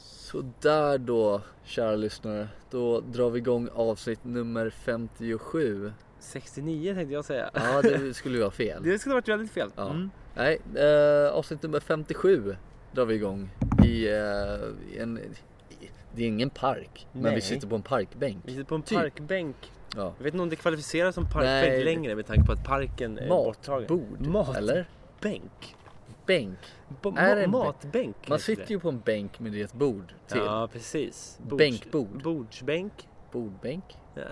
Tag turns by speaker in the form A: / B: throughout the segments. A: Så där då, kära lyssnare. Då drar vi igång avsnitt nummer 57.
B: 69 tänkte jag säga.
A: Ja, det skulle ju vara fel.
B: Det skulle ha varit väldigt fel.
A: Ja.
B: Mm.
A: Nej, eh, avsnitt nummer 57 drar vi igång i eh, en... i- Det är ingen park, men vi
B: Nej.
A: sitter på en parkbänk.
B: Vi sitter på en
A: Typ.
B: parkbänk.
A: Ja.
B: Jag vet inte om det kvalificeras som
A: Nej.
B: parkbänk längre med tanke på att parken är borttagen.
A: Matbord,
B: Mat-
A: eller?
B: Bänk?
A: Bänk.
B: Bo-
A: Är det
B: ma-
A: en
B: matbänk?
A: Man
B: heter
A: sitter ju på en bänk med ett bord
B: det.
A: till.
B: Ja, precis. Bords-
A: Bänkbord.
B: Bordsbänk.
A: Bordbänk.
B: Ja,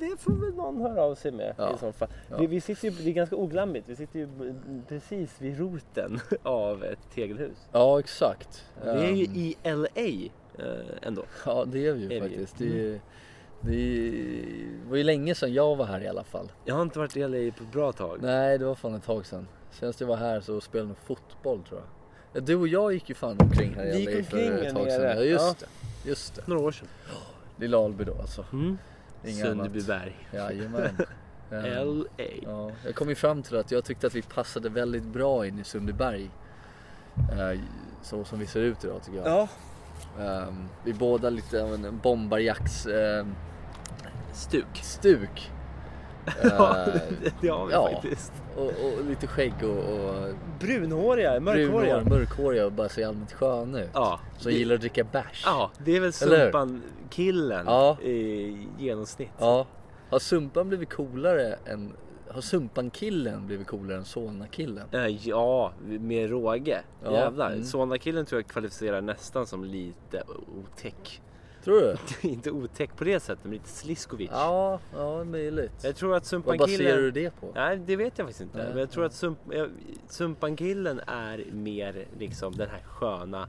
B: det får väl någon höra av sig med
A: Ja.
B: i så fall.
A: Ja.
B: Vi, vi sitter ju, det är ganska oglammigt. Vi sitter ju mm, precis vid roten av ett tegelhus.
A: Ja, exakt.
B: Vi är ju
A: Ehm,
B: i LA eh, ändå.
A: Ja, det är vi ju Mm.
B: Är vi ju.
A: faktiskt. Det, är- det var ju länge sedan jag var här i alla fall.
B: Jag har inte varit i LA på ett bra tag.
A: Nej, det var fan ett tag sedan. Senast jag var här så spelade jag fotboll tror jag. Ja, Du och jag gick ju fan omkring här
B: Vi
A: i
B: gick
A: LA för
B: omkring
A: ett
B: här
A: tag sedan.
B: nere.
A: Ja, just det. Just det.
B: Några år sedan.
A: Lilla Alby då alltså.
B: Mm.
A: Inga annat.
B: Sundbyberg.
A: Jajamän. Ehm,
B: LA.
A: Ja, jag kom ju fram till att jag tyckte att vi passade väldigt bra in i Sundbyberg. Eh, Så som vi ser ut idag tycker jag.
B: Ja,
A: Ehm, Vi är båda lite av en bombarjacks... ehm,
B: stuk.
A: stuk.
B: Ja,
A: Eh,
B: det har vi
A: ja.
B: faktiskt.
A: och, och lite skägg och, och
B: Brunhåriga, mörkhåriga.
A: brunhår, mörkhåriga och bara ser allmänt skön ut.
B: Ja.
A: Som
B: det-
A: gillar att dricka bärs.
B: Ja, det är väl
A: Eller hur?
B: Sumpan-killen
A: Ja.
B: i genomsnitt.
A: Ja. Har Sumpan blivit coolare än... Har Sumpan-killen blivit coolare än Solna-killen?
B: Eh, Ja, med råge.
A: Ja,
B: Jävlar.
A: mm.
B: Solna-killen tror jag kvalificerar nästan som lite otäck.
A: Tror du?
B: Inte otäck på det sättet, men lite Sliskovic.
A: Ja, ja möjligt.
B: Jag tror att
A: Vad baserar
B: Sumpan-killen...
A: du det på?
B: Nej, det vet jag faktiskt inte.
A: Nej,
B: men jag tror att sump, eh, Sumpan-killen är mer liksom den här sköna,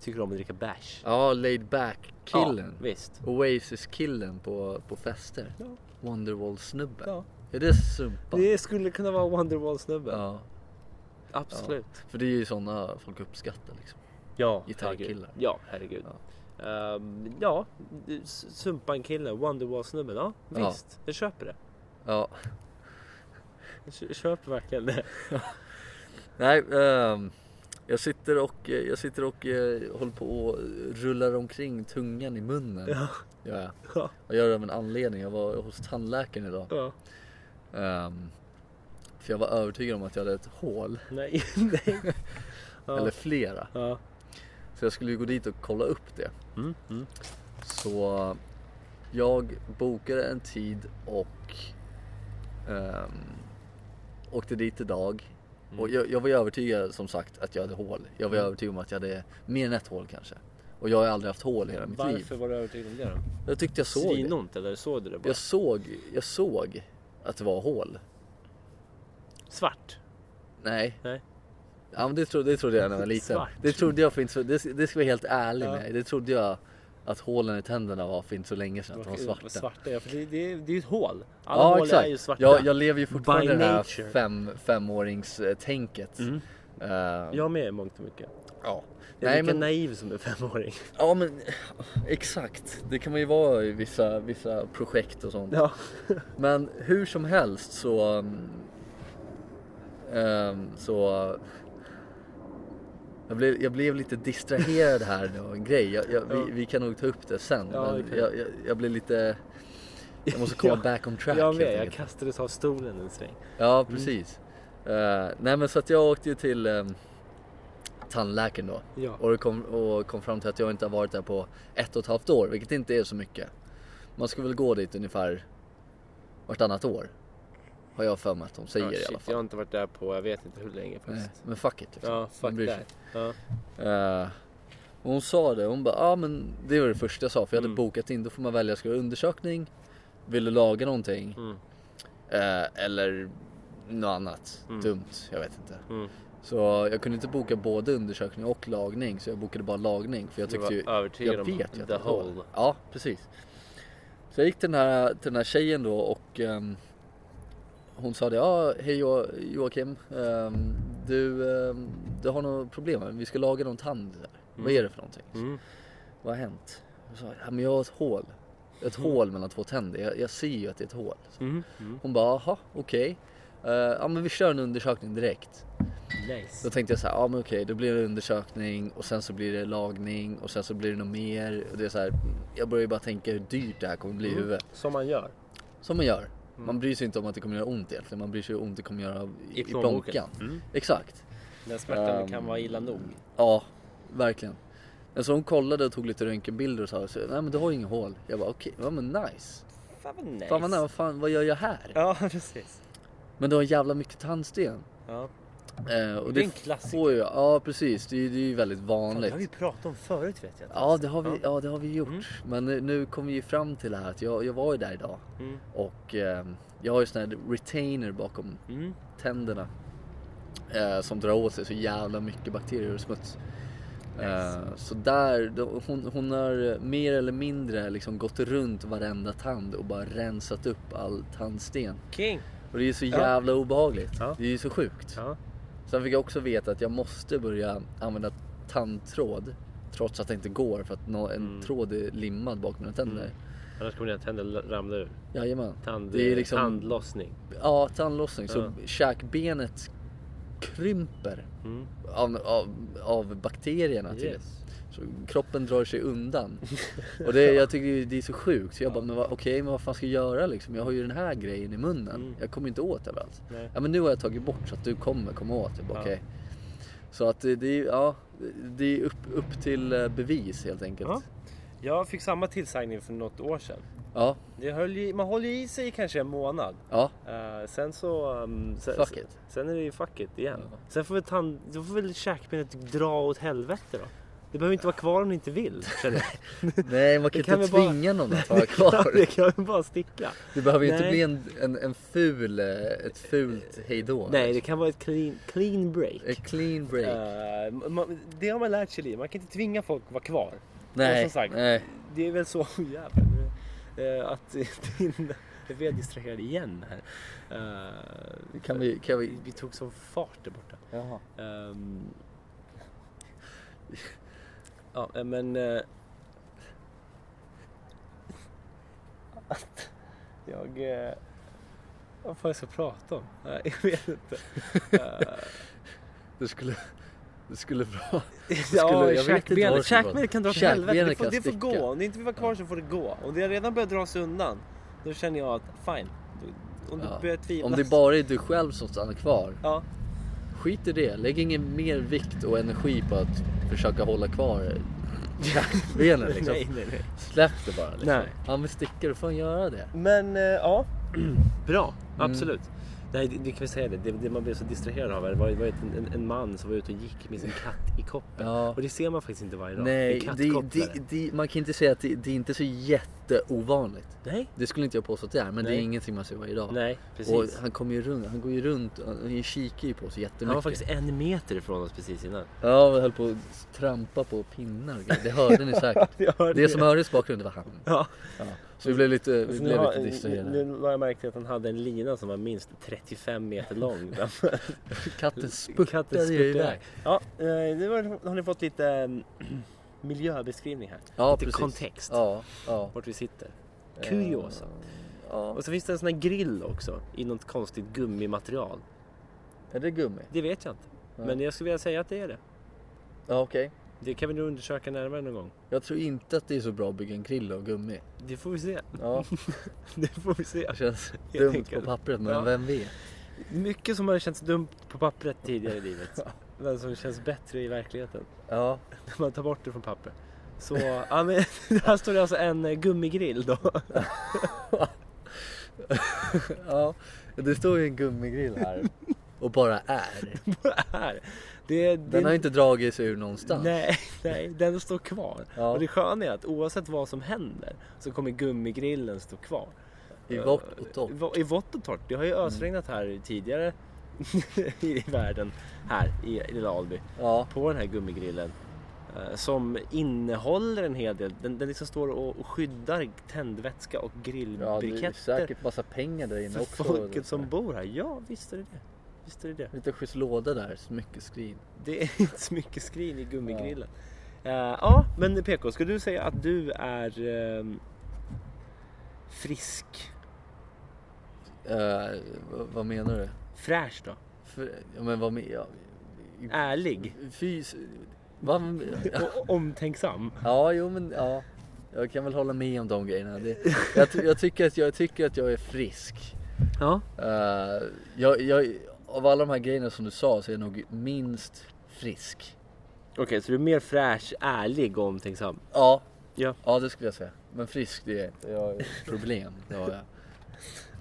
B: tycker om att dricka bärs.
A: Ja, laid back-killen.
B: Ja, visst.
A: Oasis-killen på, på fester.
B: Ja.
A: Wonderwall-snubben.
B: Ja.
A: Är det Sumpan?
B: Det skulle kunna vara Wonderwall-snubben.
A: Ja,
B: Absolut.
A: för det är ju sådana folk uppskattar liksom.
B: Ja,
A: Gitarrkillar.
B: herregud. Ja, herregud. Ehm, ja, S- Sumpan-killen, Wonderwall-snubben. Ja,
A: Ja.
B: visst. Jag köper det.
A: Ja,
B: Jag kö- köper verkligen det.
A: Nej, ehm, jag sitter och, eh, jag sitter och eh, håller på och rullar omkring tungan i munnen.
B: Ja.
A: Gör jag.
B: Ja.
A: jag gör det av en anledning. Jag var hos tandläkaren idag.
B: Ja.
A: Ehm, för jag var övertygad om att jag hade ett hål.
B: Nej, nej. Ja.
A: Eller flera.
B: Ja.
A: Så jag skulle ju gå dit och kolla upp det.
B: Mm, mm.
A: Så jag bokade en tid och ehm, åkte dit idag.
B: Mm.
A: Och jag, jag var ju övertygad som sagt att jag hade hål. Jag var övertygad om att jag hade mer än ett hål kanske. Och jag har ju aldrig haft hål i hela mitt liv.
B: Varför var du övertygad om det då?
A: Jag tyckte jag såg det.
B: Svinont eller såg du det bara?
A: Jag såg, jag såg att det var hål.
B: Svart?
A: Nej.
B: Nej.
A: Ja, men det, trodde, det trodde jag när jag var liten.
B: Svart.
A: Det trodde jag för inte så, det, det ska jag vara helt ärlig
B: Ja.
A: med. Det trodde jag att hålen i tänderna var för inte så länge sedan. Att de var svarta.
B: svarta ja, för det, det, är- det är ju ett hål. Alla hål är ju svarta.
A: Jag, jag lever ju fortfarande
B: By
A: i det här
B: nature.
A: fem, femåringstänket.
B: Mm.
A: Eh,
B: Jag med i mångt och mycket.
A: ja.
B: Jag är
A: Nej,
B: lika
A: men,
B: naiv som en femåring.
A: ja men exakt. Det kan man ju vara i vissa, vissa projekt och sånt.
B: Ja.
A: Men hur som helst så... um, ehm, så jag blev, jag blev lite distraherad här nu av en grej. Jag, jag,
B: Ja.
A: vi, vi kan nog ta upp det sen.
B: Ja, det
A: men
B: kan
A: jag, jag, jag blev lite... Jag måste komma
B: Ja.
A: back on track
B: Jag
A: helt
B: med, jag Mm.
A: enkelt.
B: kastades av stolen en sväng.
A: Ja, precis. Eh, nej men så att jag åkte ju till um, tandläkaren då.
B: Ja.
A: Och, det kom, och kom fram till att jag inte har varit där på ett och ett halvt år, vilket inte är så mycket. Man ska väl gå dit ungefär vartannat år. Har jag för mig att de säger
B: Ja,
A: i alla
B: shit, jag
A: fall.
B: har inte varit där på, jag vet inte hur länge
A: Nej,
B: faktiskt.
A: men fuck it liksom.
B: Ja,
A: Man
B: fuck
A: bryr sig
B: that. Ja.
A: Eh, och hon sa det, hon bara, ja ah, men det var det första jag sa för jag hade
B: Mm.
A: bokat in, då får man välja, ska du ha undersökning? Vill du laga någonting?
B: Mm.
A: Eh, eller något annat
B: Mm.
A: dumt, jag vet inte.
B: Mm.
A: Så jag kunde inte boka både undersökning och lagning så jag bokade bara lagning för jag
B: Du
A: tyckte
B: var
A: ju,
B: övertygad
A: jag
B: om
A: vet ju att
B: the
A: det var.
B: hole.
A: Ja, precis. Så jag gick till den här, till den här tjejen då och ehm, hon sa det, ja hej Jo- Joakim, Ehm, du, ehm, du har något problem, vi ska laga någon tand där. Vad är det för någonting?
B: Mm.
A: Vad har hänt? Jag sa, ja men jag har ett hål. Ett hål mellan två tänder, jag, jag ser ju att det är ett hål.
B: Mm. Mm.
A: Hon bara, jaha okej. Eh, ja men vi kör en undersökning direkt.
B: Nice.
A: Då tänkte jag så här, ja men okej, då blir det undersökning och sen så blir det lagning och sen så blir det något mer. Och det är så här, jag börjar ju bara tänka hur dyrt det här kommer
B: Mm.
A: bli i huvudet.
B: Som man gör.
A: Som man gör.
B: Mm.
A: Man bryr sig inte om att det kommer göra ont egentligen, man bryr sig hur ont det kommer göra i, i
B: plånboken.
A: plånkan.
B: Mm.
A: Exakt.
B: Den smärtan
A: Ehm.
B: kan vara illa nog.
A: Ja, verkligen. Men så hon kollade och tog lite röntgenbilder och sa, så, nej men du har ju inga hål. Jag bara okej, ja men nice.
B: Fan vad nice.
A: Fan vad, vad fan, vad gör jag här?
B: Ja, precis.
A: Men du har jävla mycket tandsten.
B: Ja.
A: Eh, och
B: Det är
A: det
B: en klassiker.
A: får ju, ja precis, det, är- det är ju väldigt
B: Fan,
A: vanligt.
B: det har vi pratat om förut vet jag.
A: Ja det har vi, ja, det har vi
B: Mm.
A: gjort. Men nu- nu kom vi ju fram till det här att jag, jag var ju där idag.
B: Mm.
A: Och eh, jag har ju sån här retainer bakom
B: Mm.
A: tänderna. Eh, som drar åt sig så jävla mycket bakterier och smuts. Eh, så där, då, hon, hon har mer eller mindre liksom gått runt varenda tand och bara rensat upp all tandsten.
B: King.
A: Och det är ju så jävla obehagligt.
B: Ja.
A: Det är ju så sjukt.
B: Ja.
A: Sen fick jag också veta att jag måste börja använda tandtråd trots att det inte går för att nå-
B: Mm.
A: en tråd är limmad bakom mina tänder.
B: Annars kommer dina tänder l- ramla ur.
A: Jajamän.
B: Tand,
A: det är liksom,
B: Tandlossning.
A: Ja, tandlossning. Så
B: Ja.
A: käkbenet krymper
B: Mm.
A: av, av, av bakterierna till det.
B: Yes.
A: Så kroppen drar sig undan. Och det, jag tycker ju det är så sjukt. Så jag bara, men vad- okej, men vad fan ska jag göra liksom? Jag har ju den här grejen i munnen.
B: Mm.
A: Jag kommer inte åt överallt.
B: Nej.
A: Ja men nu har jag tagit bort så att du kommer komma åt. Jag bara,
B: Ja.
A: okej. Så att det, det är, ja, det är upp, upp till eh, bevis helt enkelt.
B: Ja. Jag fick samma tillsägning för något år sedan.
A: Ja,
B: Det höll ju, man håller ju i sig i kanske en månad.
A: ja,
B: Eh, sen så... Um, sen,
A: Fuck it.
B: Sen är det ju fuck it igen.
A: Ja.
B: Sen får väl, tand, då får väl käkbenet dra åt helvete då. Det behöver inte vara kvar om ni inte vill. känner jag.
A: Nej man kan,
B: kan
A: inte
B: vi bara-
A: tvinga någon att vara kvar.
B: det kan väl bara sticka.
A: Det behöver ju inte
B: Nej.
A: bli en, en, en ful, eh, ett fult hejdå.
B: Nej, det kan vara ett clean, clean break.
A: A clean break.
B: Eh, man, det har man lärt sig i Man kan inte tvinga folk att vara kvar.
A: nej,
B: och som sagt-
A: nej.
B: Det är väl så... Oh, jävlar, nu, eh, att din... Nu blir jag distraherad igen här. Eh,
A: Kan vi, kan
B: vi,
A: vi...
B: vi tog som fart där borta.
A: Jaha.
B: Ehm, ja, eh, men... eh, att jag... eh, vad fan jag ska prata om? Nej, jag vet inte. Eh,
A: Det skulle... Det skulle bra. jag vet inte
B: ja,
A: varför,
B: käkbenet. Käkbenet
A: men-
B: kan dra åt helvete. Det
A: käkbenet
B: får,
A: kan
B: det får
A: sticka.
B: gå. Om det inte vill vara kvar så får det gå. Om det redan börjar dras undan, då känner jag att fine. Då- Om du
A: Ja.
B: börjar tvivla.
A: Om det bara är du själv som stannar kvar.
B: Ja,
A: Skit i det. Lägg ingen mer vikt och energi på att försöka hålla kvar benet liksom.
B: nej, nej, nej.
A: Släpp det bara liksom.
B: Nej.
A: Han vill sticka, då får han göra det.
B: Men eh, ja, bra.
A: Mm.
B: Absolut. Nej, det, det kan vi säga det. det. Det man blev så distraherad av det var, var ett- en, en, en man som var ute och gick med sin katt i koppen.
A: Ja.
B: Och det ser man faktiskt inte varje dag.
A: Nej,
B: en
A: det,
B: kattkopplare.
A: det, det, man kan inte säga att det, det är inte så jätteovanligt.
B: Nej,
A: Det skulle inte jag påstå att det är, men det är
B: Nej.
A: ingenting man ser varje dag.
B: nej,
A: och
B: precis.
A: han kommer ju runt, han går ju runt, han kikar ju på oss jättemycket.
B: Han var faktiskt en meter ifrån oss precis innan.
A: Ja, vi höll på att trampa på pinnar och grejer. Det hörde ni säkert. Det som hördes i bakgrunden var han.
B: Ja.
A: Ja. Så vi blev lite, vi
B: Alltså,
A: blev
B: nu, har,
A: lite distraherade.
B: nu har jag märkt att han hade en lina som var minst 35 meter lång. Katten
A: Katten spurtade ju
B: spurtade
A: iväg.
B: Ja, eh, nu har, har ni fått lite eh, miljöbeskrivning här.
A: Ja,
B: lite
A: precis.
B: kontext. alltså.
A: Ja, ja.
B: Vart vi sitter. Kuriosa.
A: ja.
B: Och så finns det en sån här grill också i något konstigt gummimaterial.
A: Är det gummi?
B: Det vet jag inte. Men jag skulle vilja säga att det är det.
A: Ja, okej.
B: Det kan vi nog undersöka närmare någon gång.
A: Jag tror inte att det är så bra att bygga en grill av gummi.
B: Det får vi se.
A: Ja,
B: Det får vi se.
A: det känns
B: Jag
A: dumt
B: tänker-
A: på pappret, men
B: Ja.
A: vem vet?
B: Mycket som har känts dumt på pappret tidigare i livet. Men som känns bättre i verkligheten.
A: Ja,
B: När man tar bort det från papper. Så, ja men här står det alltså en eh, gummigrill då.
A: ja. Det står ju en gummigrill här och bara är.
B: Bara här. Det, det,
A: Den har inte dragits ur någonstans.
B: Nej, nej, den står kvar.
A: Ja.
B: Och det sköna är att oavsett vad som händer så kommer gummigrillen stå kvar.
A: I vått och torrt. Mm.
B: Va- I vått och torrt. Det har ju ösregnat här tidigare i världen, här i i lilla Alby,
A: Ja,
B: på den här gummigrillen. eh, Som innehåller en hel del. Den, den liksom står och, och skyddar tändvätska och
A: ja det är
B: grillbriketter
A: säkert massa pengar där inne
B: för
A: också.
B: folket som bor här. Ja, visst är det det. Visst är det det.
A: Lite schysst låda där, smyckeskrin.
B: Det är ett smyckeskrin i gummigrillen. Ja, ja men PK, ska du säga att du är ehm, frisk?
A: Eh, vad, vad menar du?
B: Fräsch då?
A: För, ja, men vad men, ja,
B: Ärlig.
A: Fys... Va?
B: Och omtänksam.
A: Ja, jo men ja. Jag kan väl hålla med om de grejerna. Det, jag, ty- jag, tycker att jag, jag tycker att jag är frisk.
B: Ja.
A: Eh, jag, jag, av alla de här grejerna som du sa så är jag nog minst frisk.
B: Okej, så du är mer fräsch, ärlig och omtänksam.
A: Ja,
B: Ja.
A: ja det skulle jag säga. Men frisk det är jag har ett problem. Det har jag.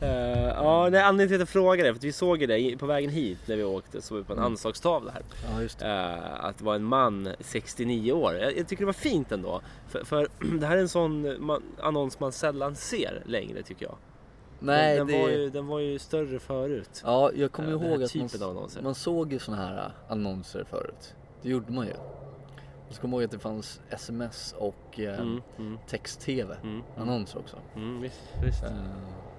B: Eh, ja, nej, anledningen till att jag frågade är för att vi såg ju det i- på vägen hit när vi åkte så var vi på en anslagstavla här.
A: Ja, just det.
B: Eh, att det var en man, 69 år. Jag, jag tycker det var fint ändå. För, för det här är en sån man, annons man sällan ser längre tycker jag.
A: Nej,
B: den, den,
A: det...
B: var ju, den var ju större förut.
A: Ja, jag kommer
B: Eh, den här
A: ihåg att man,
B: typen av annonser.
A: man såg ju sådana här eh, annonser förut. Det gjorde man ju. Och så kommer jag ihåg att det fanns sms och eh,
B: Mm, mm,
A: text-tv
B: mm,
A: annonser också.
B: mm, visst, visst.
A: Eh,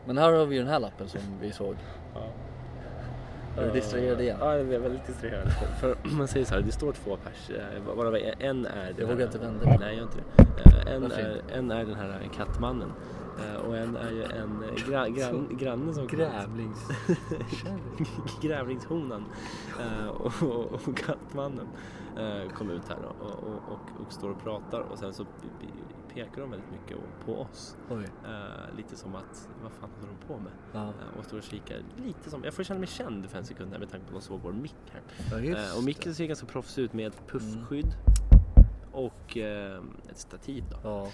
A: men här har vi ju den här lappen som vi såg.
B: Ja.
A: Är du distraherad igen?
B: Ja, jag blev väldigt distraherad. För för man säger så här, det står två pers, eh, varav en är... den
A: Jag
B: här-
A: vågar inte vända mig.
B: Nej, jag inte det. Eh, En
A: Varför
B: är, en är den här kattmannen. Eh, Och en är ju en eh, gra, gran, granne som
A: Grävlings...
B: grävlingshonan eh, och, och, och kattmannen eh, kom ut här och, och, och, och står och pratar och sen så p- p- pekar de väldigt mycket på oss.
A: Oj.
B: Eh, Lite som att, vad fan håller de på med?
A: Ja,
B: Eh, Och står och kikar lite som, jag får känna mig känd för en sekund här med tanke på att de såg vår mick här.
A: ja
B: Eh,
A: just
B: och
A: det.
B: micken ser ganska proffsig ut med ett puffskydd och eh, ett stativ då.
A: Ja,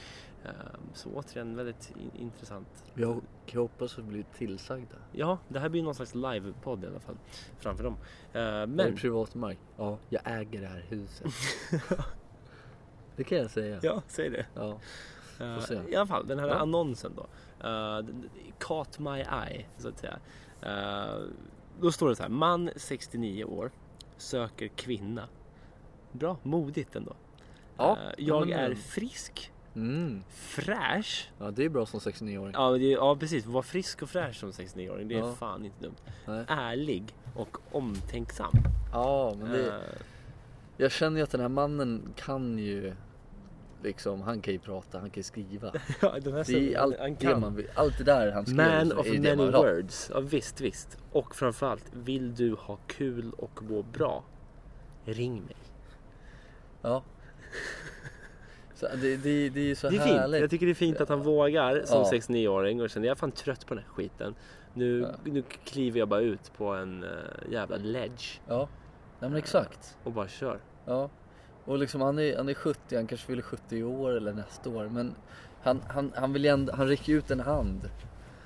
B: Eh, så återigen väldigt in- intressant.
A: jag jag hoppas att vi blir tillsagda.
B: Ja, det här blir någon slags livepodd i alla fall framför dem. Eh,
A: Men... Är
B: men...
A: det privatmark? Ja, jag äger det här huset. det kan jag säga.
B: Ja, säg det.
A: Ja.
B: Eh,
A: se.
B: I alla fall, den här
A: Ja.
B: annonsen då. Eh, den- caught my eye, så att säga. Eh, då står det så här, man 69 år söker kvinna. Bra, modigt ändå.
A: Ja,
B: Eh,
A: ja,
B: jag
A: men-
B: är frisk,
A: Mm.
B: fräsch
A: Ja, det är bra som 69-åring.
B: Ja, men det, ja precis, var frisk och fräsch som 69-åring. Det är
A: Mm. Ja.
B: fan inte dumt.
A: Nej.
B: Ärlig och omtänksam.
A: Ja, men det...
B: Eh,
A: Jag känner ju att den här mannen kan ju liksom, han kan ju prata, han kan ju skriva.
B: ja, den här
A: Det är
B: snubben,
A: allt
B: han
A: det man vill, allt det där han skriver
B: Man
A: så
B: of
A: är ju det man
B: many
A: vill ha.
B: words. Ja, visst, visst. Och framförallt, vill du ha kul och må bra? Ring mig.
A: Ja. Så det, det, det är ju så
B: Det är fint.
A: härligt.
B: Jag tycker det är fint att han vågar som
A: Ja.
B: 69-åring och känner jag är fan trött på den här skiten. Nu, nu kliver jag bara ut på en eh, jävla ledge
A: Ja, ja men exakt.
B: och bara kör.
A: Ja. Och liksom han är, han är 70, han kanske fyller 70 i år eller nästa år. Men han, han, han vill ju ändå, han räcker ut en hand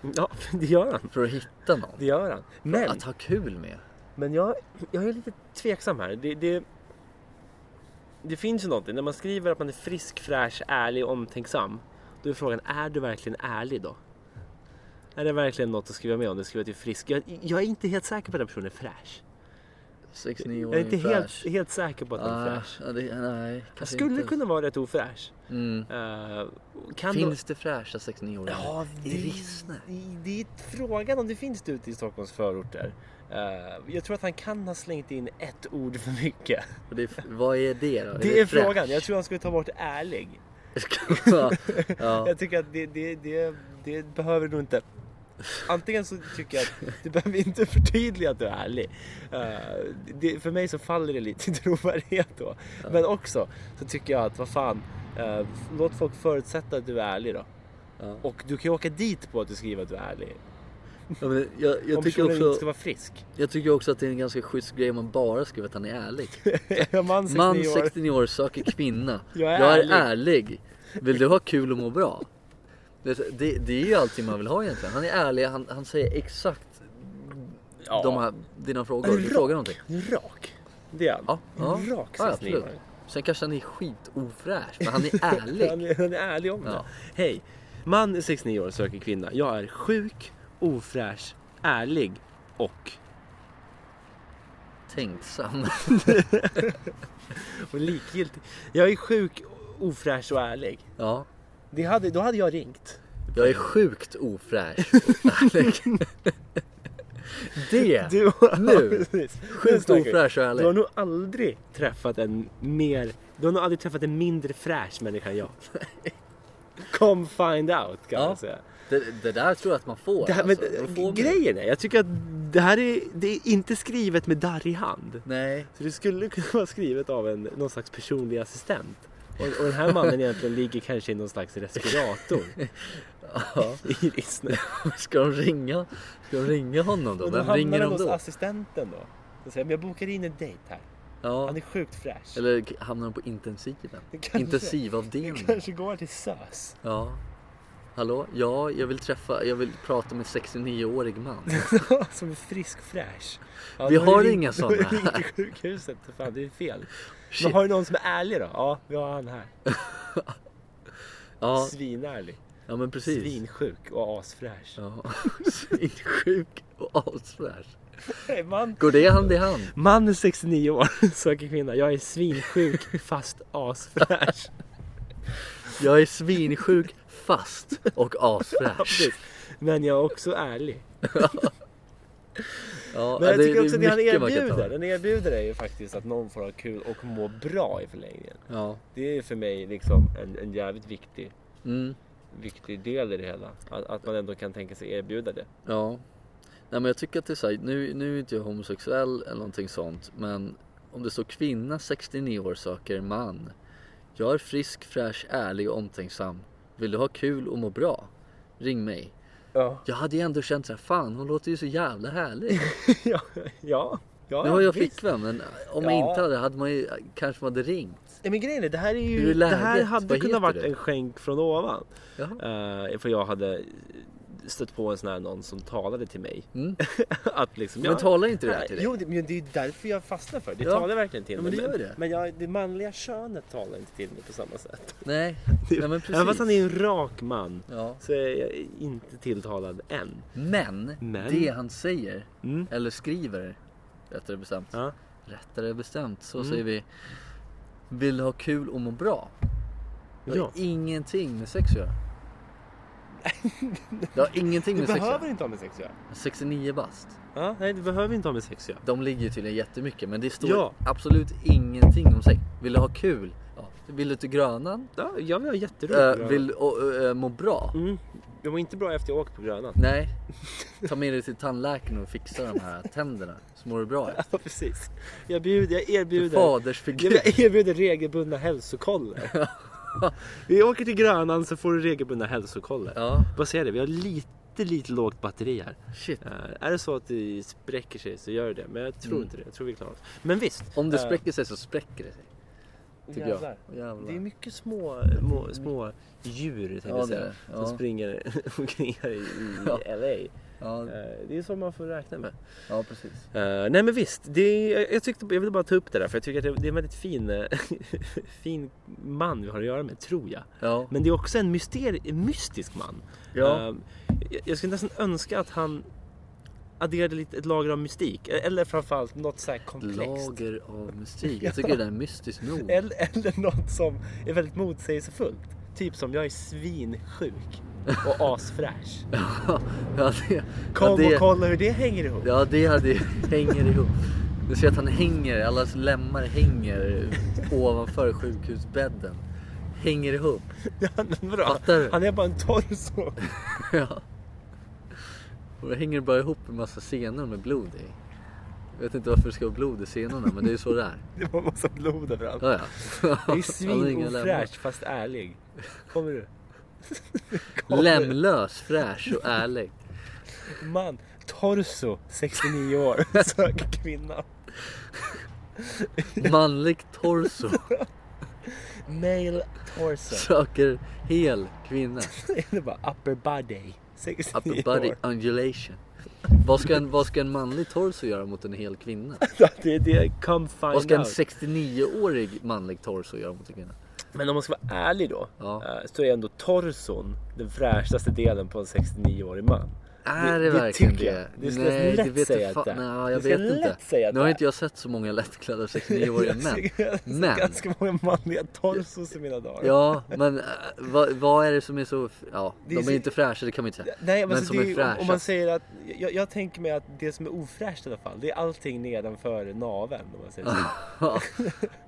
B: Ja, det gör han.
A: för att hitta någon.
B: Det gör han. Men
A: Att ha kul med.
B: Men jag, jag är lite tveksam här. Det, det, det finns ju någonting. När man skriver att man är frisk, fräsch, ärlig och omtänksam. Då är frågan, är du verkligen ärlig då? Är det verkligen något att skriva med om? Du skriver att du är frisk. Jag, jag är inte helt säker på att den personen är fräsch. Jag är
A: 69-åring
B: inte helt,
A: fräsch.
B: helt säker på att den är
A: Ah,
B: fräsch.
A: ja, det, nej,
B: Jag
A: kanske
B: skulle
A: inte.
B: kunna vara rätt ofräsch.
A: Mm.
B: Eh, kan
A: Finns det fräscha 69-åringar?
B: Ja,
A: I
B: det-
A: Rissne?
B: det- Det är frågan om det finns det ute i Stockholms förorter. Eh, jag tror att han kan ha slängt in ett ord för mycket.
A: Och det, vad är det då?
B: Det är
A: fräsch?
B: frågan. Jag tror han skulle ta bort ärlig.
A: ja, ja.
B: Jag tycker att det, det, det, det behöver du inte. Antingen så tycker jag att du behöver inte förtydliga att du är ärlig. Eh, det, för mig så faller det lite i trovärdighet då. Men också så tycker jag att vad fan, eh, låt folk förutsätta att du är ärlig då.
A: Ja.
B: Och du kan ju åka dit på att du skriver att du är ärlig.
A: Ja, men jag,
B: Om
A: jag, tycker
B: personen inte ska
A: också,
B: vara frisk.
A: jag tycker också att det är en ganska schysst grej om man bara skriver att han är ärlig.
B: Man 69
A: Man
B: år.
A: 69 år söker kvinna.
B: Jag är
A: ärlig. Vill du ha kul och må bra? Det, det, det är ju allting man vill ha egentligen. Han är ärlig, han, han säger exakt
B: Ja.
A: de här, dina frågor. Du
B: Rak.
A: frågar någonting.
B: Rak. Det är han.
A: Ja, ja.
B: En Rak
A: Ja,
B: 69
A: absolut.
B: år.
A: Sen kanske han är skitofräsch, men han är ärlig.
B: Han är, han är ärlig om det.
A: Ja.
B: Hej! Man 69 år söker kvinna. Jag är sjuk, ofräsch, ärlig och...
A: Tänksam.
B: och likgiltig. Jag är sjuk, ofräsch och ärlig.
A: Ja.
B: Det hade, då hade jag ringt.
A: Jag är sjukt ofräsch. det!
B: Du,
A: Nu.
B: Precis. Nu
A: Sjukt
B: snackar vi.
A: ofräsch och
B: Du har
A: ärlig.
B: nog aldrig träffat en mer... Du har nog aldrig träffat en mindre fräsch människa än jag. Come find out kan
A: Ja.
B: man säga.
A: Det, det där tror jag att man får.
B: Det här,
A: alltså.
B: men,
A: Man får bli-
B: grejen är, jag tycker att det här är, det är inte skrivet med darrig hand.
A: Nej.
B: Så det skulle kunna vara skrivet av en, någon slags personlig assistent. Och, och den här mannen egentligen ligger kanske i någon slags respirator
A: Ja.
B: i Rissne.
A: Ska de ringa? Ska de ringa honom då? Vem ringer de då?
B: assistenten då. Och säger, men jag bokar in en dejt här.
A: Ja.
B: är sjukt fräsch.
A: Eller k- hamnar de på intensiven?
B: Kanske.
A: Intensivavdelningen?
B: går till SÖS.
A: Ja. Hallå? Ja, jag vill träffa, jag vill prata med 69-årig man.
B: Som är frisk fräsch.
A: Vi har inga sådana
B: här.
A: här.
B: sjukhuset. Fan, det är fel. Men
A: Shit.
B: har du någon som är ärlig då? Ja, vi har han här.
A: Ja,
B: Svinärlig.
A: ja men precis.
B: Svinsjuk och asfräsch.
A: Ja. Svinsjuk och asfräsch.
B: Hey, man.
A: Går det hand i hand?
B: man är 69 år, söker kvinna. Jag är svinsjuk fast asfräsch.
A: Jag är svinsjuk fast och asfräsch.
B: Precis. Men jag är också ärlig.
A: Ja,
B: Men jag
A: det-
B: tycker
A: det är
B: också det han
A: mycket man kan
B: erbjuder.
A: ta.
B: Den erbjuder är ju faktiskt att någon får ha kul och må bra i förlängningen.
A: Ja.
B: Det är ju för mig liksom en, en jävligt viktig,
A: Mm.
B: viktig del i det hela. Att, att man ändå kan tänka sig erbjuda det.
A: Ja. Nej men jag tycker att det är så här, nu, nu är inte jag homosexuell eller någonting sånt men om det står kvinna 69 år söker man. Jag är frisk, fräsch, ärlig och omtänksam. Vill du ha kul och må bra? Ring mig.
B: Ja.
A: Jag hade ju ändå känt så här, fan hon låter ju så jävla härlig.
B: ja, ja, ja.
A: Nu har jag
B: visst.
A: flickvän men om
B: Ja.
A: jag inte hade, hade man ju, eh, kanske man hade ringt.
B: Nej, men grejen är, det här är ju...
A: Hur är
B: det här
A: läget?
B: hade
A: Vad
B: kunnat
A: heter
B: varit
A: du?
B: en skänk från ovan.
A: Jaha.
B: Eh, för jag hade stött på en sån här någon som talade till mig.
A: Mm.
B: att liksom,
A: Men talar inte det här till dig?
B: Jo, det, men det är ju därför jag fastnar för det. Det
A: Ja.
B: talar verkligen till
A: Ja,
B: mig.
A: men det gör det.
B: men jag, det manliga könet talar inte till mig på samma sätt.
A: Nej, nej men
B: Även fast han
A: precis.
B: är en rak man
A: Ja.
B: så är jag inte tilltalad än.
A: Men,
B: Men.
A: det han säger,
B: Mm.
A: eller skriver, rättare bestämt.
B: Ja.
A: Rättare bestämt så
B: Mm.
A: säger vi Vill ha kul och må bra. Det har
B: Ja.
A: ingenting med sex att göra. Det har ingenting
B: Du
A: med sex att
B: behöver
A: göra.
B: inte ha med sex att göra.
A: 69 bast.
B: Ja, nej, du behöver inte ha med sex att göra.
A: De ligger ju tydligen jättemycket men det står
B: Ja.
A: absolut ingenting om sex. Vill du ha kul? Ja. Vill du till Grönan?
B: Ja, jag vill ha jätteroligt.
A: Eh,
B: på Grönan.
A: vill och, eh, må bra?
B: Mm. Jag mår inte bra efter jag åkt på Grönan.
A: Nej. Ta med dig till tandläkaren och fixa de här tänderna så mår du bra.
B: Ja, precis. Jag, bjuder, jag erbjuder... Ja,
A: Fadersfigur.
B: men Jag erbjuder regelbundna hälsokoller. Vi åker till Grönan så får du regelbundna hälsokoller.
A: Ja,
B: Vad säger du? Vi har lite, lite lågt batteri här.
A: shit.
B: Eh, är det så att det spräcker sig så gör det. Men jag tror
A: Mm.
B: inte det. Jag tror vi klarar oss. Men visst.
A: Om det
B: eh,
A: spräcker sig så spräcker det sig. Tycker
B: jävlar. Mm.
A: jag. Jävlar.
B: Det är mycket små, små, små djur tänkte
A: Ja,
B: jag
A: det är
B: säga,
A: det.
B: som
A: Ja.
B: springer omkring här i, i
A: Ja.
B: LA.
A: Ja,
B: Eh, det är så man får räkna med.
A: ja precis.
B: Eh, nej men visst, det är, jag- jag, tyckte, jag ville bara ta upp det där för jag tycker att det, det är en väldigt fin, eh, fin man vi har att göra med, tror jag.
A: Ja,
B: Men det är också en myster, en mystisk man.
A: ja.
B: Eh, jag, jag skulle nästan önska att han adderade lite, ett lager av mystik, eh, eller framförallt något så här komplext.
A: lager av mystik. Jag tycker det där är mystiskt nog.
B: Eller, eller något som är väldigt motsägelsefullt. Typ som jag är svinsjuk och asfräsch.
A: Ja, det,
B: Kom
A: ja, det,
B: och kolla hur det hänger ihop.
A: ja, det hade hänger ihop. Du ser att han hänger, allas lemmar hänger ovanför sjukhusbädden. Hänger ihop.
B: Men Bra.
A: Fattar du?
B: Han är bara en torso.
A: Ja. Och det hänger bara ihop en massa senor med blod i. Jag vet inte varför det ska vara blod i senorna men det är ju så det är.
B: Det var massa blod överallt.
A: Ja, ja.
B: Det är
A: Han har inga lemmar.
B: svinofräscht fast ärlig. Kommer du? Kommer du?
A: Lämlös, fräsch och ärlig.
B: Man, torso, 69 år, söker kvinna.
A: Manlig torso.
B: Male torso.
A: Söker hel kvinna.
B: Eller bara upper body, 69
A: Upper body
B: år.
A: undulation. Vad ska, en, vad ska en manlig torso göra mot en hel kvinna?
B: Det är det, come
A: Vad
B: find
A: ska en
B: out.
A: 69-årig manlig torso göra mot en kvinna?
B: Men om man ska vara ärlig då,
A: Ja.
B: eh, så är ändå torson den fräschaste delen på en 69-årig man.
A: Är det,
B: det
A: verkligen
B: tycker jag.
A: det?
B: Du ska lätt
A: vet
B: säga
A: du
B: att det är.
A: Nej, jag
B: Du ska
A: vet
B: lätt
A: inte.
B: säga att
A: nu har
B: det
A: inte jag sett så många lättklädda 69-åriga män. Men-
B: Ganska många manliga torsos i mina dagar.
A: Ja, men äh, vad, vad är det som är så... Ja,
B: Det
A: de
B: är så-
A: är inte fräscha, det kan man inte säga.
B: Nej, men,
A: Men
B: alltså,
A: som
B: det
A: är
B: ju-
A: fräscha.
B: Om man säger att, jag, jag tänker mig att det som är ofräscht i alla fall, det är allting nedanför naveln. Om man säger så.
A: Ja,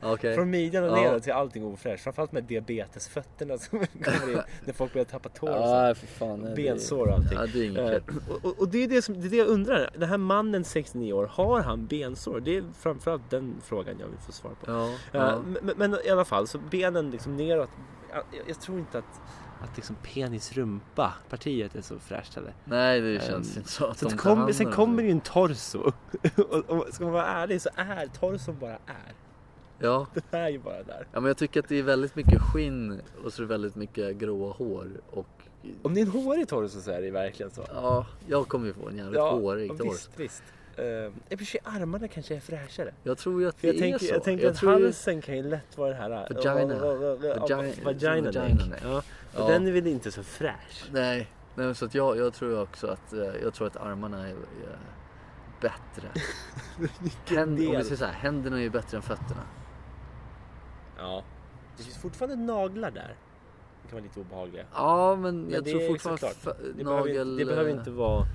A: Okej.
B: Från midjan och
A: Mm. Ja.
B: neråt så är allting ofräscht. Framförallt med diabetesfötterna som kommer in när folk börjar tappa tår och så.
A: Ja, för fan. nej, det-
B: Bensår och allting.
A: Ja, det är inget
B: Eh,
A: kul.
B: och- och, och det är det, som, det är det jag undrar. Den här mannen 69 år, har han bensår? Det är framförallt den frågan jag vill få svar på.
A: Ja,
B: Eh,
A: ja.
B: men, men i alla fall, så benen liksom neråt. Jag, jag tror inte att, att liksom penis-rumpa-partiet är så fräscht heller.
A: Nej, det känns
B: ehm,
A: inte så att
B: Så
A: de
B: att
A: tar
B: kom,
A: hand
B: sen
A: om
B: kommer
A: det.
B: ju en torso. och, och ska man vara ärlig så är torson bara är.
A: Ja.
B: Det är ju bara där.
A: ja, men jag tycker att det är väldigt mycket skinn och så är det väldigt mycket gråa hår och...
B: Om det är en hårig torso så är det ju verkligen så.
A: Ja, jag kommer ju få en jävligt hårig torso.
B: visst, visst. Uh, I och för sig armarna kanske är fräschare.
A: Jag tror ju att
B: För
A: det
B: jag
A: är
B: tänker,
A: så.
B: jag tänker att
A: tror ju-
B: halsen kan ju lätt vara det här... äh,
A: Vagina.
B: Ja, ja, ja, ja,
A: Vagi-
B: Vagina.
A: vagina
B: neck.
A: neck.
B: Ja. Och
A: Ja.
B: den är väl inte så fräsch?
A: Nej, nej men så att jag, jag tror också att, eh, jag tror att armarna är, är bättre. Händ, om vi
B: del?
A: säger så här, händerna är ju bättre än fötterna.
B: Ja. Det finns fortfarande naglar där. Det kan vara lite obehagliga.
A: Ja, men,
B: Men
A: jag
B: det
A: tror
B: är
A: fortfarande
B: såklart.
A: fö-
B: Det behöver, inte, det behöver inte vara...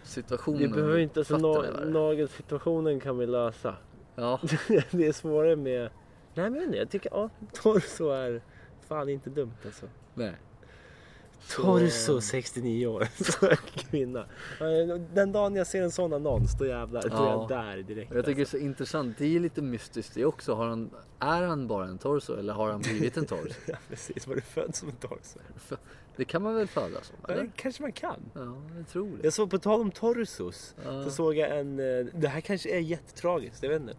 A: nagelsituationen
B: Det behöver inte... Alltså,
A: fötterna
B: na,
A: är värre.
B: nagelsituationen kan vi lösa.
A: Ja,
B: det är svårare med... Nej men jag vet inte, jag tycker ja, torso är fan inte dumt alltså.
A: nej.
B: Torso 69 år, så är kvinna. Eh, Den dagen jag ser en sån annons då jävlar, då är jag
A: Ja.
B: där direkt.
A: Och Jag tycker det är så intressant, det är lite mystiskt det också. Har han, är han bara en torso eller har han blivit en torso?
B: alltså. Ja, precis, var du född som en torso?
A: För- det kan man väl födas som,
B: Ja, det
A: eller?
B: kanske man kan.
A: Ja, jag tror det.
B: Jag såg, på tal om torsos,
A: Ja.
B: så såg jag en... eh, Det här kanske är jättetragiskt, jag vet inte. Eh,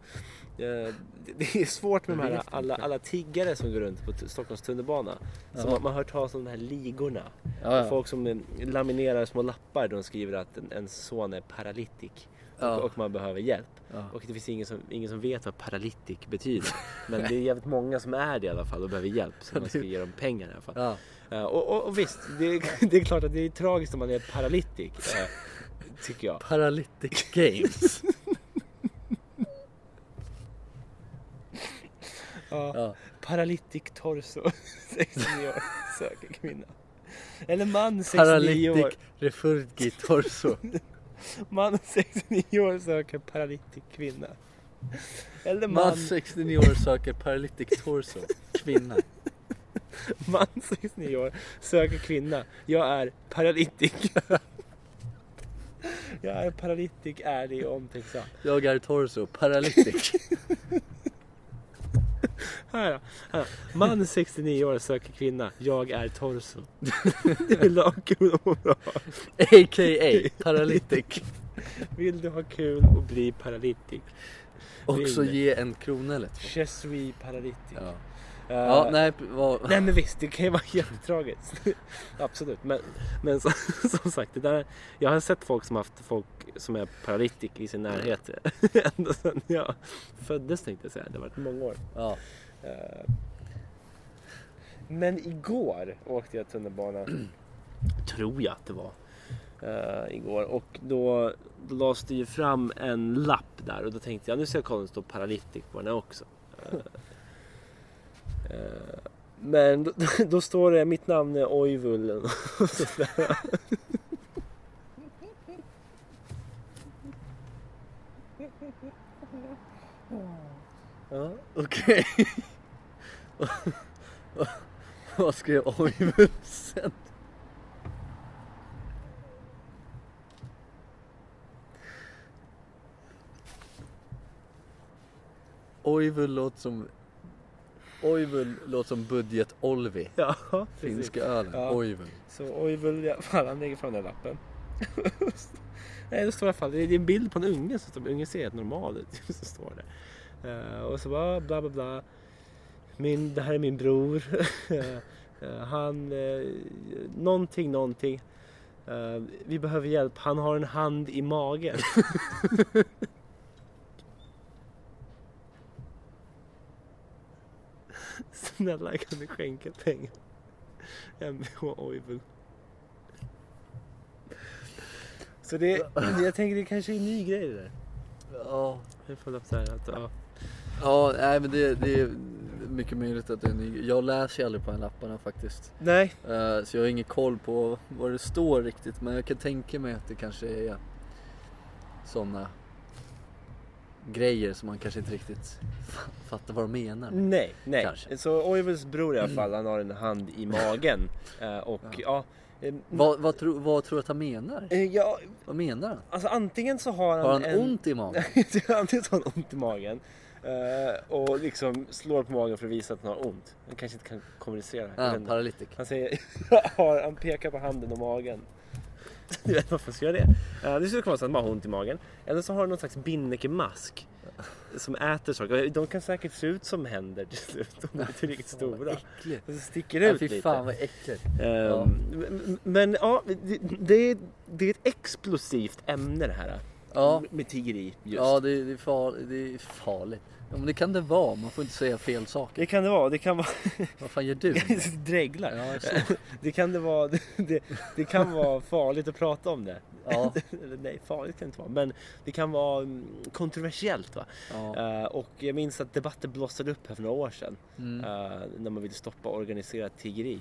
B: det- Det är svårt med de
A: Jag
B: här
A: vet inte.
B: alla, alla tiggare som går runt på t- Stockholms tunnelbana. Som
A: Ja.
B: man- man har hört talas om de här ligorna.
A: Ja, ja.
B: Folk som eh, laminerar små lappar där de skriver att en, en son är paralytik.
A: Ja.
B: Och, och man behöver hjälp.
A: Ja.
B: Och det finns ingen som, ingen som vet vad paralytik betyder. Men det är jävligt många som är det i alla fall och behöver hjälp. Så man ska ge dem pengar i alla fall.
A: Ja.
B: Eh, Och, och, och visst, det, det är klart att det är tragiskt om man är paralytik. eh, Tycker jag.
A: Paralytic Games. Ja.
B: Paralytic torso, 69 år, söker kvinna. Eller man 69 år.
A: Paralytic Refugee Torso.
B: Man 69 år söker paralytic kvinna. Eller man,
A: Man 69 år söker Paralytic Torso. Kvinna.
B: man 69 år söker kvinna. Jag är paralytic. Jag är paralytic, ärlig och omtänksam.
A: Jag är Torso. Paralytic.
B: Här, då, här. då. Man 69 år söker kvinna. Jag är torso. Vill du ha kul och må bra?
A: A.k.a. Paralytic.
B: Vill du ha kul och bli paralytic?
A: Också
B: Ring.
A: ge en krona eller två.
B: Je suis paralytic.
A: Ja,
B: Eh,
A: ja Äh. nej. Vad...
B: Nej men visst, det kan ju vara jättetragiskt. Absolut. Men, men som, som sagt, det där, jag har sett folk som haft folk som är paralytik i sin närhet. Ända sedan jag föddes tänkte jag säga. Det har varit många år.
A: Ja.
B: Eh, Men igår åkte jag tunnelbana. Tror jag att det var. eh, igår. Och då, då lades det ju fram en lapp där och då tänkte jag nu ska jag kolla om det står paralytik på den här också. Eh, eh, men då, då står det mitt namn är Oivullen. och sådär. Ja,
A: Okej. Vad skrev Oivusen? Oivul låter som... Oivul låter som budget-Olvi.
B: ja precis.
A: Finska ölen.
B: Ja.
A: Oivul.
B: Så Oivul, ja, fan han lägger fram den här lappen. Nej, det står i alla fall, det är en bild på en unge som står, ungen ser helt normal ut. Så står det. Eh, och så bara bla bla bla. Min, det här är min bror. Eh, han, uh, någonting, någonting. Eh, vi behöver hjälp, han har en hand i magen. Snälla kan du skänka pengar? Mh Oivul. Så det, jag tänker det kanske är en ny grej det där.
A: Ja,
B: Jag får upp så här att, ja.
A: ja nej, men det, det är mycket möjligt att det är en ny. Jag läser ju aldrig på de här lapparna faktiskt.
B: Nej,
A: Eh, Så jag har ingen koll på vad det står riktigt men jag kan tänka mig att det kanske är sådana grejer som man kanske inte riktigt fa- fattar vad de menar. med.
B: nej, nej.
A: Kanske.
B: Så Oivels bror i alla fall, han har en hand i magen. Eh, och ja. eh,
A: Vad, vad, tro, vad tror du att han menar?
B: eh, ja,
A: Vad menar han?
B: alltså antingen så har han,
A: Har han
B: en...
A: ont i magen?
B: Antingen så har han ont i magen eh, och liksom slår på magen för att visa att han har ont. Han kanske inte kan kommunicera.
A: Är
B: Jag vet
A: Ah, han
B: inte.
A: paralytik?
B: Han säger, har, han pekar på handen och magen. Du vet varför ska jag det? Eh, Det skulle kunna vara så att man har ont i magen. Eller så har han någon slags binnikemask. Som äter saker. De kan säkert se ut som händer till slut. De är inte riktigt
A: Fan, vad
B: stora.
A: äckligt.
B: Och så sticker det
A: Ja,
B: ut
A: fy
B: lite.
A: fan vad äckligt.
B: Eh, men- Men ja, det, det, är, det är ett explosivt ämne det här.
A: Ja,
B: Med- Med tiggeri just.
A: ja det, det, är far, det är farligt. Ja, men det kan det vara, man får inte säga fel saker.
B: Det kan det vara. Det kan vara...
A: Vad fan gör du?
B: Jag dreglar.
A: Ja, så.
B: Det kan det vara. Det, det kan vara farligt att prata om det.
A: Ja,
B: Eller nej, farligt kan det inte vara. Men det kan vara mm, kontroversiellt. Va?
A: ja.
B: Eh, och jag minns att debatter blossade upp här för några år sedan.
A: Mm.
B: eh, när man ville stoppa organiserat tiggeri.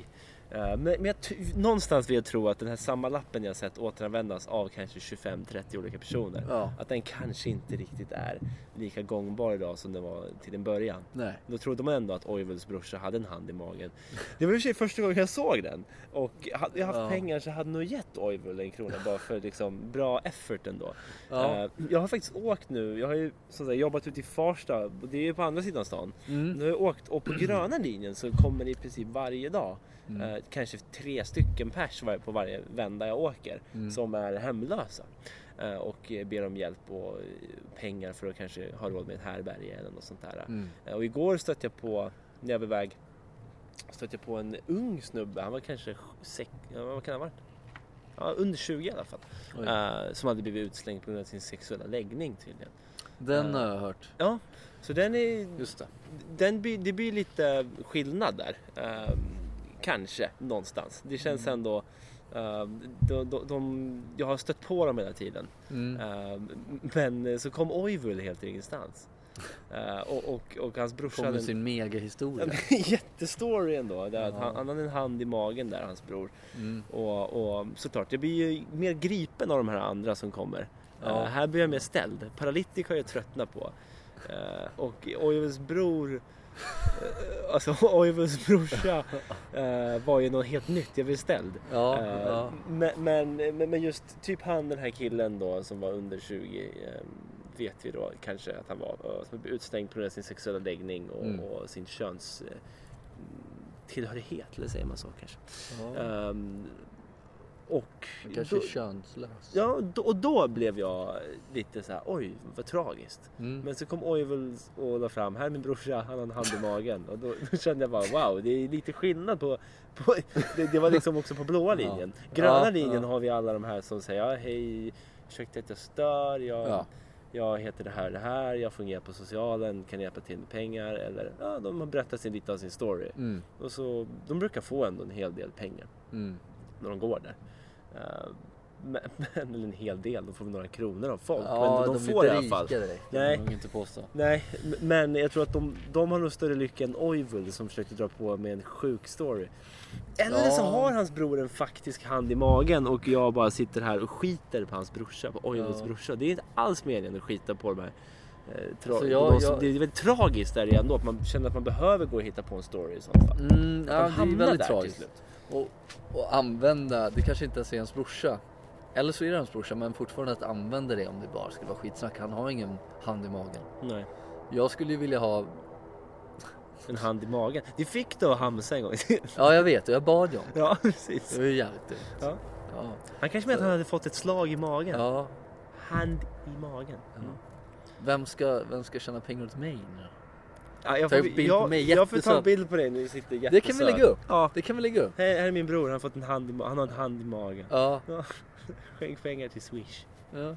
B: Eh, men men jag t- någonstans vill jag tro att den här samma lappen jag sett återanvändas av kanske 25-30 olika personer.
A: ja.
B: Att den kanske inte riktigt är lika gångbar idag som den var till en början.
A: Nej.
B: Då trodde man ändå att Oivels brorsa hade en hand i magen. Det var i och för sig första gången jag såg den. Och hade jag haft
A: Ja.
B: pengar så hade jag nog gett Oivel en krona bara för liksom bra effort ändå.
A: Ja.
B: Eh, Jag har faktiskt åkt nu. Jag har ju som sagt, jobbat ute i Farsta och det är ju på andra sidan stan.
A: Mm.
B: Nu har jag åkt och på gröna linjen så kommer det i princip varje dag.
A: Mm.
B: Eh, kanske tre stycken pers var- på varje vända jag åker
A: Mm.
B: som är hemlösa. Eh, och eh, ber om hjälp och eh, pengar för att kanske ha råd med ett härbärge eller något sånt där.
A: Mm.
B: Eh, Och igår stötte jag på, när jag var iväg, stötte jag på en ung snubbe. Han var kanske sex, ja, vad kan han ha varit? Ja, under 20 i alla fall.
A: Oj.
B: Eh, som hade blivit utslängd på grund av sin sexuella läggning tydligen.
A: Den har jag hört.
B: Ja, så den är,
A: Just det.
B: den, blir- det blir lite skillnad där. Eh, kanske någonstans. Det känns ändå, eh, de, de, de, jag har stött på dem hela tiden.
A: Mm.
B: Eh, men så kom Oivul helt ur ingenstans. Eh, och, och, och hans brorsa
A: Kommer
B: hade en-
A: sin megahistoria.
B: Ja, men Jättestory ändå. Där att
A: Ja.
B: han, han hade en hand i magen där, hans bror.
A: Mm.
B: Och, och såklart, jag blir ju mer gripen av de här andra som kommer.
A: Ja.
B: Eh, här blir jag mer ställd. Paralytic har jag tröttnat på. Eh, och Oivels bror, eh, alltså Oivels brorsa eh, var ju något helt nytt. Jag blev ställd.
A: Ja,
B: Eh,
A: ja.
B: men, men, men men just typ han den här killen då som var under 20 eh, vet vi då kanske att han var eh, som blev utstängd på grund av sin sexuella läggning och,
A: Mm.
B: och sin köns eh, tillhörighet, eller säger man så kanske.
A: ja.
B: Ehm, och
A: Kanske
B: då,
A: könslös.
B: ja, då, och då blev jag lite så här, oj vad tragiskt.
A: Mm.
B: Men så kom Oivel och la fram, här är min brorsa, han har en hand i magen. Och då, då kände jag bara wow, det är lite skillnad på... på det, det var liksom också på blåa linjen. Gröna
A: Ja,
B: linjen
A: ja.
B: har vi alla de här som säger ja, hej, ursäkta att jag stör, jag,
A: Ja.
B: jag heter det här och det här, jag fungerar på socialen, kan ni hjälpa till med pengar? Eller ja, de har berättat sin, lite av sin story.
A: Mm.
B: Och så, de brukar få ändå en hel del pengar
A: Mm.
B: när de går där. Eh, Men, men, eller en hel del, de får väl några kronor av folk.
A: Ja,
B: men
A: de,
B: de,
A: blir
B: får i
A: inte
B: alla fall.
A: rika direkt.
B: Nej.
A: Det kan man inte påstå.
B: Nej, m- men jag tror att de, de har nog större lycka än Oivul som försökte dra på med en sjuk story. Eller så
A: Ja.
B: har hans bror en faktisk hand i magen och jag bara sitter här och skiter på hans brorsa, på Oivuls
A: Ja.
B: brorsa. Det är inte alls meningen att skita på de här. eh, Tra-
A: Alltså, jag-
B: de som-
A: jag-
B: Det är väldigt tragiskt där ändå att man känner att man behöver gå och hitta på en story i så fall.
A: Mm,
B: Att de
A: ja, det är
B: hamnar där
A: väldigt
B: till
A: tragiskt.
B: slut.
A: Och, och använda, det kanske inte ens är hans brorsa. Eller så är det hans brorsa men fortfarande att använda det om det bara skulle vara skitsnack. Han har ingen hand i magen.
B: Nej.
A: Jag skulle ju vilja ha,
B: En hand i magen. Det fick du av Hamza en gång.
A: ja jag vet och jag bad ju om det.
B: ja, precis.
A: Det var ju jävligt dumt.
B: Ja.
A: Ja.
B: Han kanske menade att han hade fått ett slag i magen.
A: ja.
B: Hand i magen. Mm.
A: Vem, ska, vem ska tjäna pengar åt mig nu?
B: Ja, jag,
A: Ta
B: får,
A: en bild på
B: jag,
A: mig,
B: jag får ta en
A: jättesöt.
B: bild på dig när du sitter jättesöt.
A: Det kan vi lägga upp.
B: Ja.
A: Det kan vi lägga upp.
B: Här, här är min bror, han har, fått en hand i, ma- han har en hand i magen.
A: Ja.
B: Skänk pengar till Swish.
A: Ja.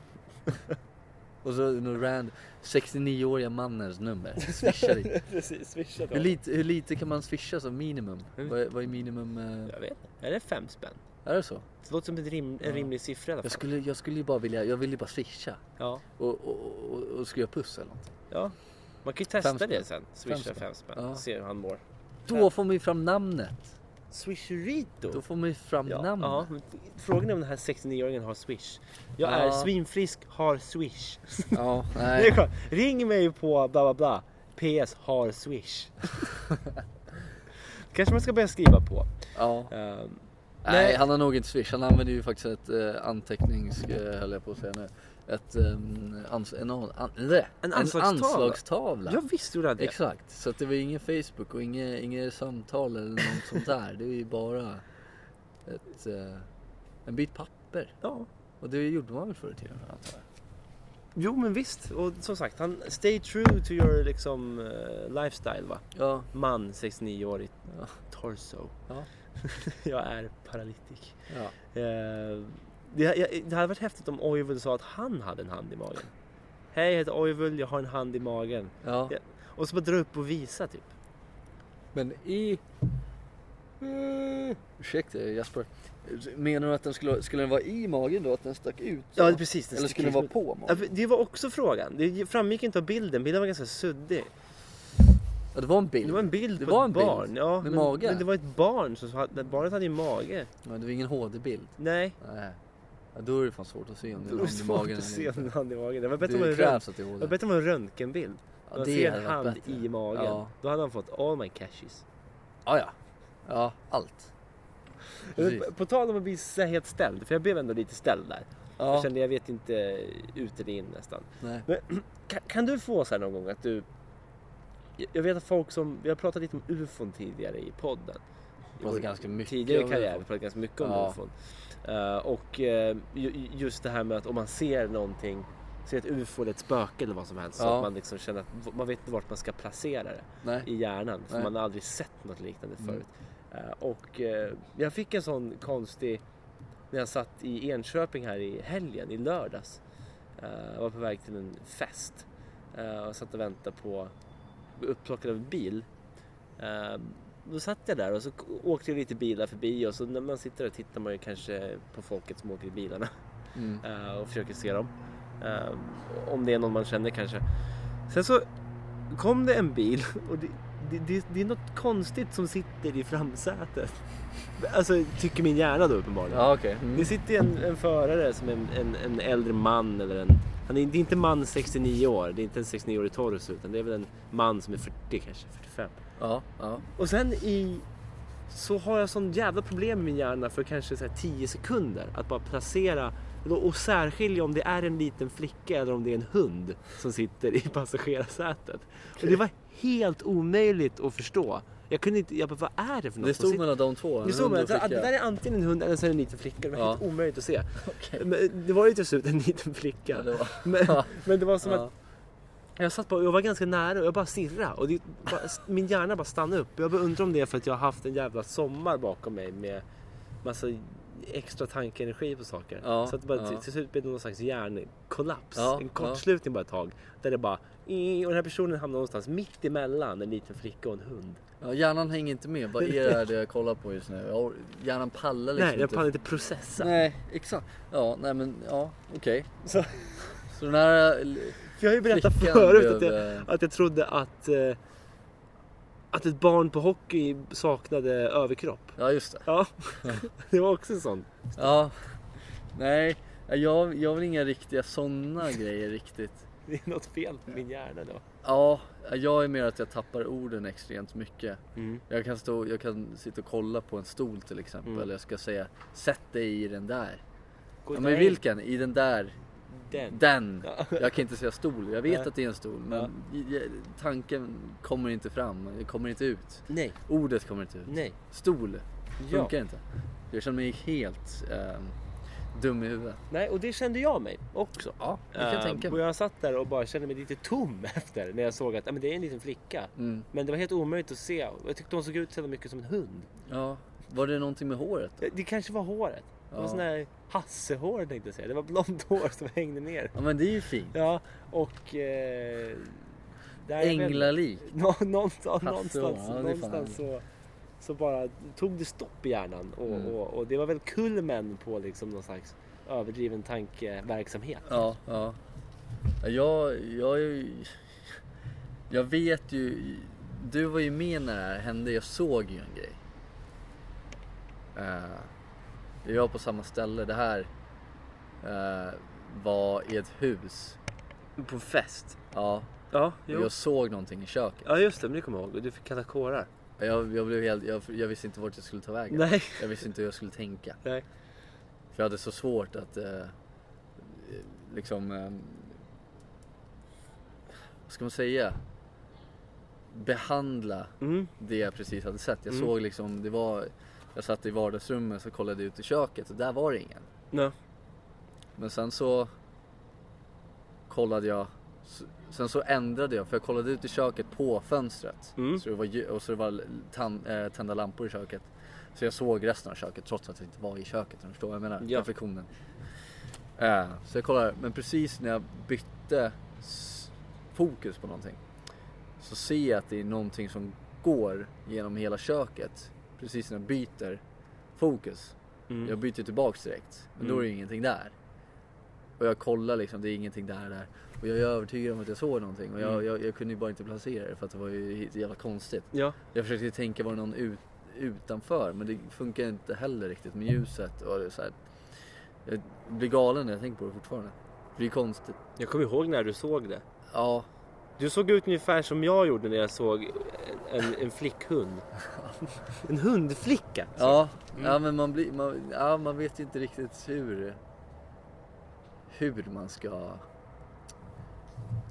A: Och så någon rand 69-åriga mannens nummer. Swisha lite.
B: Precis, swisha då.
A: Hur lite, hur lite kan man swisha som minimum?
B: Mm.
A: Vad är, vad är minimum? Eh,
B: Jag vet inte. Är det fem spänn?
A: Är det så?
B: Det låter som ett rim, en rimlig siffra i alla
A: Jag
B: fall.
A: skulle, jag skulle ju bara vilja, jag vill ju bara swisha.
B: Ja.
A: Och, och, och, och skriva puss eller något.
B: ja. Man kan ju testa
A: Fem spänn.
B: det sen. Swisha
A: spänn.
B: fem spänn.
A: Ja.
B: Se hur han mår.
A: Då får man ju fram namnet.
B: Swisherito.
A: Då får man ju fram
B: Ja,
A: namnet.
B: ja. Frågan är om den här 69-åringen har swish. Jag är
A: Ja.
B: svinfrisk, har swish.
A: Ja,
B: Det är
A: nej.
B: skönt. Ring mig på bla bla bla. PS har swish. kanske man ska börja skriva på.
A: Ja.
B: Ehm,
A: Nej, han har nog inte swish. Han använder ju faktiskt ett eh, antecknings... Eh, höll jag på att säga nu. Ett, em, ans, en, an, an, nej, en
B: anslagstavla.
A: anslagstavla.
B: jag visste gjorde han det.
A: Exakt. Så att det var ju ingen Facebook och inget, inget samtal eller något sånt där. Det är ju bara ett, eh, en bit papper.
B: Ja.
A: Och det gjorde man väl förr i tiden antar jag.
B: Jo men visst. Och som sagt, han stay true to your liksom eh, lifestyle va.
A: Ja,
B: Man, 69-årig
A: Ja.
B: torso.
A: Ja.
B: jag är paralytik.
A: ja.
B: Eh, det, jag- det hade varit häftigt om Oivel sa att han hade en hand i magen. Hej, jag heter Oivel, jag har en hand i magen.
A: ja.
B: Ja. Och så bara dra upp och visa typ.
A: Men i... Uh, ursäkta Jasper. Menar du att den skulle, skulle den vara i magen då? Att den stack ut? så?
B: Ja, precis.
A: Eller skulle den vara på magen?
B: Det var också frågan. Det framgick inte av bilden. Bilden var ganska suddig.
A: Ja, det var en bild.
B: Det var en bild
A: Det
B: på
A: var
B: ett
A: en bild
B: barn. Ja,
A: med
B: men,
A: mage.
B: men det var ett barn. Som, hade- barnet hade ju mage.
A: Ja, det var ingen HD-bild.
B: Nej.
A: Nej. Ja, då är det fan svårt att se om det är
B: Det var
A: någon i
B: svårt
A: magen
B: att
A: eller
B: se
A: inte.
B: en hand i magen. Det var bättre om det var
A: Det
B: en rönt-
A: krävs att det är
B: det var
A: HD.
B: bättre om det var en röntgenbild.
A: Ja,
B: Man
A: det
B: ser en
A: hade varit
B: hand
A: bättre.
B: i magen.
A: Ja.
B: Då hade han fått all my cashes.
A: Ja, ja. Ja, allt. Precis.
B: På, på tal om att bli så här helt ställd, för jag blev ändå lite ställd där. Jag
A: Ja,
B: kände jag vet inte ut eller in nästan.
A: nej.
B: Kan, kan du få så här någon gång att du... Jag- Jag vet att folk som... Vi har pratat lite om ufon tidigare i podden. I
A: Pratat
B: vår
A: Alltså, ganska mycket
B: Tidigare
A: om
B: karriär,
A: UFO.
B: vi pratade ganska mycket om
A: Ja.
B: ufon. Eh, och eh, ju- ju- just det här med att om man ser någonting, ser ett ufo eller ett spöke eller vad som helst, så
A: Ja.
B: att man liksom känner att v- man vet inte vart man ska placera det
A: nej.
B: i hjärnan. För
A: Nej.
B: man har aldrig sett något liknande
A: Mm.
B: förut. Eh, Och eh, jag fick en sån konstig när jag satt i Enköping här i helgen, i lördags. Eh, Jag var på väg till en fest eh, och satt och väntade på, blev upplockad av en bil. Eh, Då satt jag där och så k- åkte det lite bilar förbi och så när man sitter där tittar man ju kanske på folket som åker i bilarna
A: Mm.
B: eh, och försöker se dem. Eh, Om det är någon man känner kanske. Sen så kom det en bil och det, det, det, det är något konstigt som sitter i framsätet. Alltså tycker min hjärna då uppenbarligen.
A: Ja, okej. Mm.
B: Det sitter en, en förare som är en, en, en äldre man eller en... Han är, det är inte man 69 år, det är inte en 69-årig torso utan det är väl en man som är 40 kanske, 45.
A: Ja, ja.
B: Och sen i... Så har jag sån jävla problem med min hjärna för kanske så här 10 sekunder. Att bara placera och och särskilja om det är en liten flicka eller om det är en hund som sitter i passagerarsätet. Och det var helt omöjligt att förstå. Jag kunde inte... Jag bara, vad är det för något
A: Det
B: som
A: stod
B: sitter?
A: mellan de två. en
B: Det stod
A: hund
B: med
A: och
B: att att det
A: flicka.
B: där är antingen en hund eller så är det en liten flicka. Det var
A: Ja.
B: helt omöjligt att se. Men det var ju till slut en liten flicka.
A: Ja, det var-
B: Men, men det var som
A: Ja.
B: att jag satt bara, jag var ganska nära och jag bara stirrade. Och det, bara, min hjärna bara stannade upp. Jag bara undrar om det är för att jag har haft en jävla sommar bakom mig med massa extra tankeenergi på saker.
A: Ja,
B: så att det bara,
A: ja.
B: till, till slut blev det någon slags hjärnkollaps.
A: Ja,
B: en kortslutning bara ett tag. Där det bara... Och den här personen hamnade någonstans mitt emellan en liten flicka och en hund.
A: Ja, hjärnan hänger inte med. Vad är det här det jag kollar på just nu? Jag- Hjärnan pallar liksom
B: Nej, jag pallade inte processa.
A: Nej, exakt. Ja, nej men ja, okej.
B: Så-
A: Så den här eh,
B: För jag har ju berättat
A: flickan
B: förut att
A: blev,
B: jag,
A: eh,
B: att jag trodde att, eh, att ett barn på hockey saknade överkropp.
A: Ja, just det.
B: Ja, det var också en sån.
A: Ja. Nej, jag, jag har väl inga riktiga sådana grejer riktigt.
B: Det är något fel på min hjärna då.
A: Ja, jag är mer att jag tappar orden extremt mycket. Jag kan, stå, jag kan sitta och kolla på en stol till exempel.
B: Mm.
A: Eller jag ska säga, sätt dig i den där.
B: Gå
A: Ja, men vilken? I den där?
B: Den.
A: Den.
B: Ja.
A: Jag kan inte säga stol. Jag vet
B: Nej.
A: att det är en stol. Men i- i- tanken kommer inte fram. Det kommer inte ut.
B: Nej,
A: Ordet kommer inte ut.
B: nej.
A: Stol.
B: Ja.
A: Funkar inte. Jag känner mig helt ehm, dum i huvudet.
B: Nej, och det kände jag mig också.
A: Ja, det kan jag
B: Eh,
A: tänka
B: och
A: mig.
B: jag satt där och bara kände mig lite tom efter när jag såg att ah, men det är en liten flicka.
A: Mm.
B: Men det var helt omöjligt att se. Jag tyckte hon såg ut så jävla mycket som en hund.
A: Ja. Var det någonting med håret?
B: Det- Det kanske var håret. Det var
A: Ja.
B: sån här hassehår tänkte jag säga. Det var blont hår som hängde ner.
A: Ja men det är ju fint.
B: Ja, och... Eh, där är väl-
A: Änglalik.
B: Nå, någonstans
A: Hasse Åman,
B: någonstans,
A: ja, det är fan
B: någonstans så, så bara tog det stopp i hjärnan. Och,
A: Mm.
B: och, och det var väl kulmen på liksom någon slags överdriven tankeverksamhet.
A: Ja, ja. Jag, jag, är ju- jag vet ju, du var ju med när det här hände, jag såg ju en grej. Eh, Vi var på samma ställe, det här eh, var i ett hus.
B: På fest?
A: Ja,
B: Ja,
A: och
B: jo.
A: jag såg någonting i köket.
B: ja just det, men det kommer jag ihåg. Och Du fick kalla kårar.
A: Jag, jag, blev helt, jag, jag visste inte vart jag skulle ta vägen.
B: Nej.
A: Jag visste inte hur jag skulle tänka.
B: Nej.
A: För jag hade så svårt att eh, liksom... Eh, vad ska man säga? Behandla
B: Mm.
A: det jag precis hade sett. Jag
B: Mm.
A: såg liksom, det var... Jag satt i vardagsrummet så kollade jag ut i köket och där var det ingen.
B: Nej.
A: Men sen så kollade jag... s- Sen så ändrade jag för jag kollade ut i köket på fönstret.
B: Mm.
A: Så det var, ljus- och så det var tan, eh, tända lampor i köket. Så jag såg resten av köket trots att jag inte var i köket. om du Förstår vad jag menar?
B: Ja.
A: Perfektionen. Eh, så jag kollade. Men precis när jag bytte s- fokus på någonting. Så ser jag att det är någonting som går genom hela köket. Precis när jag byter fokus.
B: Mm.
A: Jag byter tillbaks direkt. Men då är det ju ingenting där. Och jag kollar liksom, det är ingenting där där. Och jag är övertygad om att jag såg någonting. Och jag,
B: Mm.
A: jag, jag kunde ju bara inte placera det för att det var ju så jävla konstigt.
B: Ja.
A: Jag försökte ju tänka var det någon ut, utanför men det funkar inte heller riktigt med ljuset. Och det är så här, jag blir galen när jag tänker på det fortfarande. För det är konstigt.
B: Jag kommer ihåg när du såg det.
A: Ja,
B: Du såg ut ungefär som jag gjorde när jag såg en, en flickhund. En hundflicka. Så. Mm.
A: ja, ja men man, blir, man, ja, man vet ju inte riktigt hur, hur man ska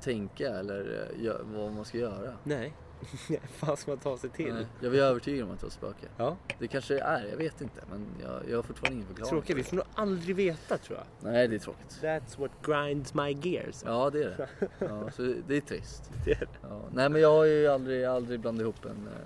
A: tänka eller eh, gö- vad man ska göra.
B: Nej. Vad ska man ta sig till?
A: Nej, Jag är övertygad om att det var spöke.
B: Ja.
A: Det kanske det är, jag vet inte. Men jag, jag har fortfarande ingen förklaring.
B: Tråkigt, vi får nog aldrig veta tror jag.
A: Nej, det är tråkigt.
B: That's what grinds my gears.
A: Ja, det är det. Ja, så det är trist.
B: Det är det.
A: Ja. Nej, men jag har ju aldrig, aldrig blandat ihop en, eh,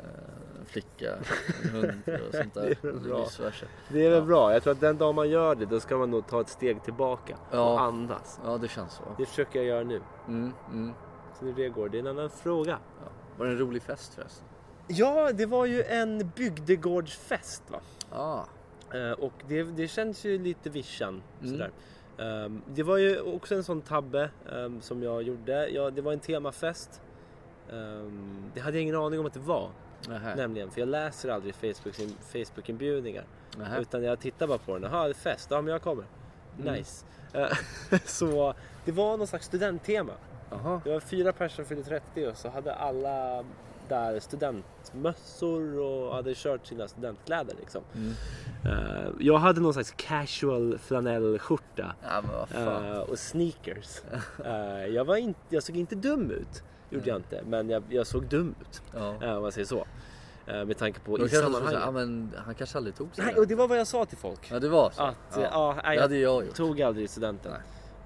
A: en flicka, en hund och sånt där.
B: Det är väl bra.
A: Och vice versa.
B: Det är väl
A: Ja.
B: bra. Jag tror att den dag man gör det, då ska man nog ta ett steg tillbaka och
A: Ja.
B: andas.
A: Ja, det känns så.
B: Det försöker jag göra nu.
A: Mm, mm.
B: Så hur det går, det är en annan fråga.
A: Ja. Var det en rolig fest förresten?
B: Ja, det var ju en bygdegårdsfest va?
A: Ja.
B: Eh, Och det, det känns ju lite vischan.
A: Mm.
B: Sådär. Ehm, det var ju också en sån tabbe ehm, som jag gjorde. Ja, det var en temafest. Ehm, det hade jag ingen aning om att det var.
A: Nähä.
B: Nämligen, för jag läser aldrig Facebook- Facebook-inbjudningar.
A: Nähä.
B: Utan jag tittar bara på den. Jaha, det är fest. Ja, men jag kommer.
A: Mm.
B: Nice. Eh, så det var någon slags studenttema.
A: Jaha.
B: Det var fyra personer som fyllde 30 och så hade alla där studentmössor och hade kört sina studentkläder liksom.
A: Mm.
B: Eh, jag hade någon slags casual flanellskjorta
A: Ja, men vad fan.
B: eh, och sneakers. Eh, jag, var inte, jag såg inte dum ut, gjorde jag inte, men jag, jag såg dum ut
A: Ja.
B: eh, om man säger så. Eh, med tanke på
A: Då
B: i
A: kanske man säger, ja,
B: sammanhanget.
A: men han kanske aldrig tog sig
B: Nej,
A: den.
B: och det var vad jag sa till folk.
A: Ja, det var så.
B: Att, eh,
A: ja.
B: ja, nej,
A: Det
B: jag
A: hade jag gjort.
B: tog aldrig studenten.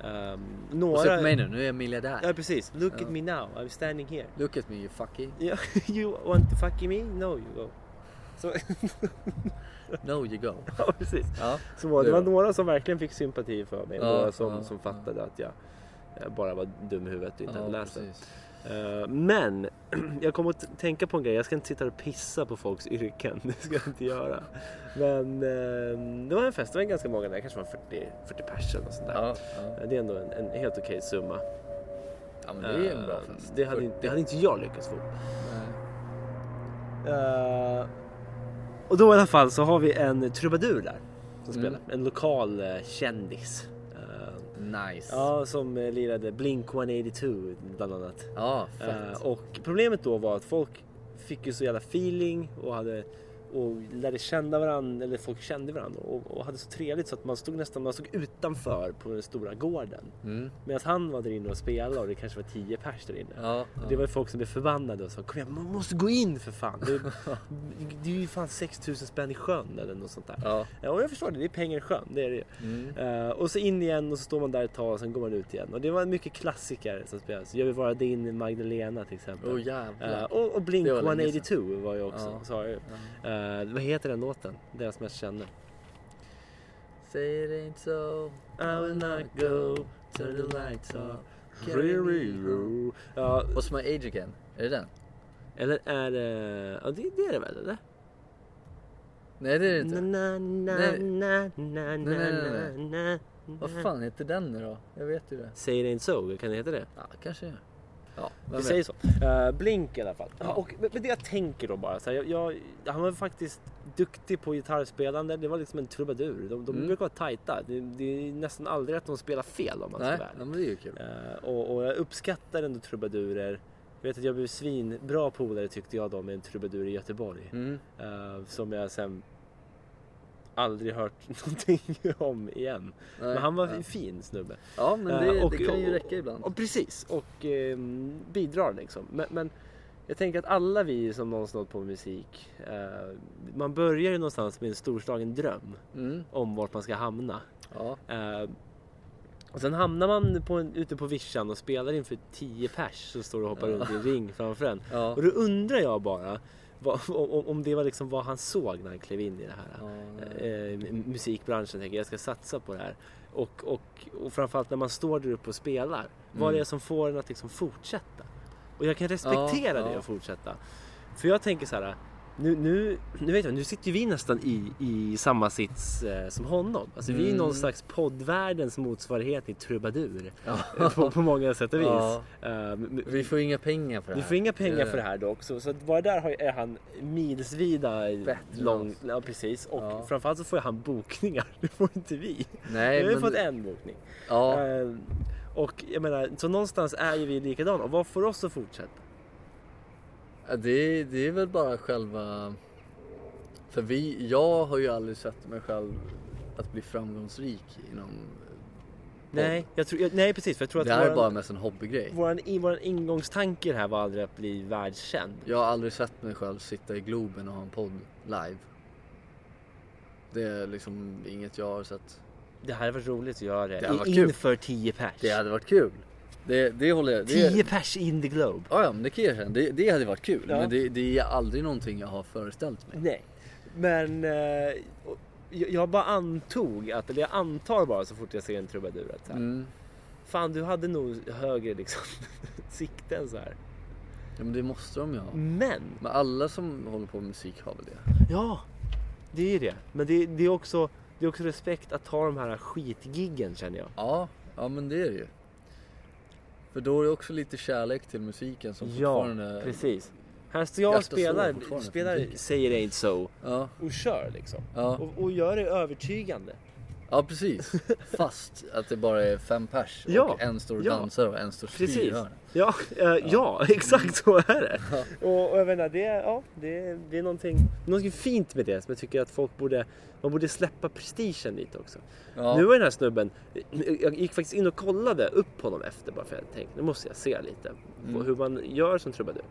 B: Ehm, några...
A: Och se på mig nu, nu är jag miljardär.
B: Ja precis, look
A: Ja.
B: at me now, I'm standing here.
A: Look at me you fucking.
B: Ja, you want to fuck me? No you go. Så,
A: No you go.
B: ja, precis.
A: Ja.
B: Så var, det
A: Det
B: var
A: var-
B: några som verkligen fick sympati för mig.
A: Ja,
B: några som,
A: ja,
B: som
A: ja.
B: fattade att jag eh, bara var dum i huvudet och inte
A: Ja,
B: hade läst den.
A: precis.
B: Eh, men jag kom att tänka på en grej. Jag ska inte sitta och pissa på folks yrken. Det ska jag inte göra. Men eh, det var en fest. Det var ganska många där. kanske var 40, 40 personer och sånt där.
A: Ja, ja.
B: Det är ändå en, en helt okej summa.
A: ja, men det är en bra
B: Eh,
A: fest.
B: Det hade, inte- det hade inte jag lyckats få. Eh, och då i alla fall så har vi en trubadur där. Som
A: Mm.
B: spelar. En lokal eh, kändis. Eh,
A: Nice.
B: ja, som eh, lirade Blink 182 bland annat.
A: Ja,
B: Eh,
A: fett.
B: och problemet då var att folk fick ju så jävla feeling och hade och lärde känna varandra, eller folk kände varandra och, och hade så trevligt så att man stod nästan man stod utanför på den stora gården.
A: Mm.
B: Medan han var där inne och spelade och det kanske var tio pers där inne.
A: Ja, ja.
B: Och Det var ju folk som blev förbannade och sa kom igen, man måste gå in för fan. Det, det är ju fan 6000 spänn i sjön eller något sånt där.
A: Ja.
B: Ja, Och jag förstår det, det är pengar i sjön. Det är det ju.
A: Mm.
B: Eh, och så in igen och så står man där ett tag och sen går man ut igen. Och det var mycket klassiker som spelades. Jag vill vara din Magdalena till exempel.
A: Oh
B: Eh,
A: jävlar.
B: och, och Blink
A: Det var länge
B: 182 var ju också,
A: Ja.
B: sa jag ju. Eh, vad heter den låten? Deras mest kända.
A: Say it ain't so.
B: I will not go,
A: Turn the lights off.
B: Ja,
A: What's my age again? Är det den?
B: eller är det... Ja, det, det är det väl eller?
A: Nej det är det inte.
B: Na, na,
A: Nej.
B: na, na,
A: nej,
B: na,
A: nej,
B: na,
A: Vad
B: na.
A: fan heter den nu då? Jag vet ju det.
B: Säger det inte så? Kan det heta det?
A: Ja, kanske. jag- Ja, vem
B: Vi
A: vet?
B: säger så. Eh, Blink i alla fall.
A: Ja.
B: Och, men men det jag tänker då bara så här, jag, jag, Han var faktiskt duktig på gitarrspelande. Det var liksom en trubadur. De, de
A: Mm.
B: brukar vara tajta. Det, det är nästan aldrig att de spelar fel om man
A: Nej,
B: ska vara
A: ja,
B: ärlig.
A: men det är ju kul.
B: Eh, och, och jag uppskattar ändå trubadurer. Jag vet att jag blev svinbra polare tyckte jag då med en trubadur i Göteborg.
A: Mm.
B: Eh, som jag sen aldrig hört någonting om igen.
A: Nej,
B: Men han var
A: ja.
B: en fin snubbe.
A: Ja, men det,
B: Eh, och-
A: det kan ju
B: och-
A: räcka ibland.
B: Och precis, och ehm, bidrar liksom. Men, men jag tänker att alla vi som någonsin hållit på med musik, eh, man börjar ju någonstans med en storslagen dröm
A: Mm.
B: om vart man ska hamna.
A: Ja,
B: Eh, och sen hamnar man på en, ute på vischan och spelar inför tio pers som står och hoppar
A: Ja.
B: runt i en ring framför en.
A: ja.
B: Och då undrar jag bara vad, om, om det var liksom vad han såg när han klev in i det här
A: ja nej.
B: eh, musikbranschen tänker jag ska satsa på det här. Och, och, och framförallt när man står där uppe och spelar. Vad det är som får en att liksom fortsätta. Och jag kan respektera
A: Mm. Ja,
B: det
A: ja.
B: och fortsätta. För jag tänker så här. Nu, nu, nu vet jag, nu sitter ju vi nästan i, i samma sits eh, som honom. Alltså vi är
A: Mm.
B: någon slags poddvärldens motsvarighet i trubadur.
A: Ja.
B: På, på många sätt och vis.
A: Ja.
B: Eh, men- men-
A: Vi får inga pengar för det
B: du
A: här.
B: får inga pengar
A: Eh,
B: för det här dock, så, så att bara där har, ju- är han milsvida
A: Bättre än
B: lång.
A: oss.
B: Ja, precis. Och
A: Ja.
B: framförallt så får han bokningar, det får inte vi.
A: Nej,
B: vi har ju
A: men...
B: fått en bokning.
A: Ja,
B: Eh, och jag menar, så någonstans är ju vi likadana. Och vad får oss att fortsätta?
A: det, det är väl bara själva... För vi, jag har ju aldrig sett mig själv att bli framgångsrik inom...
B: Nej, jag tror, jag, nej precis, för jag tror att
A: Det här är bara
B: våran,
A: mest en hobbygrej.
B: våran, i- våran ingångstanke i det här var aldrig att bli världskänd.
A: Jag har aldrig sett mig själv sitta i Globen och ha en podd live. Det är liksom inget jag har sett.
B: Det här var roligt att göra
A: Det hade varit
B: I-
A: kul.
B: inför 10 pers.
A: Det hade varit kul. Det, det håller jag... Det,
B: 10 pers in the globe.
A: Ja, ja, men det kan jag erkänna. Det, det hade varit kul.
B: Ja.
A: Men det, det är aldrig någonting jag har föreställt mig.
B: Nej, men eh, och- jag jag bara antog, att, eller jag antar bara så fort jag ser en trubadur att så här,
A: Mm.
B: fan du hade nog högre liksom, sikten så här.
A: Ja, men det måste de ju ha.
B: Mm. Men,
A: Men alla som håller på med musik har väl det?
B: ja, det är ju det. Men det, det, är också, det är också respekt att ta de här skitgiggen känner jag.
A: Ja, ja men det är det ju. För då är det också lite kärlek till musiken som fortfarande...
B: precis. Här står jag och
A: Hjärtat slår
B: spelar,
A: fortfarande för
B: spelar
A: musiken.
B: säger det inte så
A: Ja,
B: och kör liksom.
A: ja,
B: Och, och gör det övertygande.
A: ja precis. Fast att det bara är fem pers och
B: Ja,
A: en står och
B: ja.
A: dansar och en står och
B: Precis.
A: styr.
B: Ja, eh, ja. exakt så är det. Och, och jag menar, det, är- ja, det, det är någonting, någonting fint med det som jag tycker att folk borde, man borde släppa prestigen lite också.
A: Ja.
B: Nu var den här snubben, jag gick faktiskt in och kollade upp på honom efter bara för jag tänkte, nu måste jag se lite på
A: Mm.
B: hur man gör som trubadur.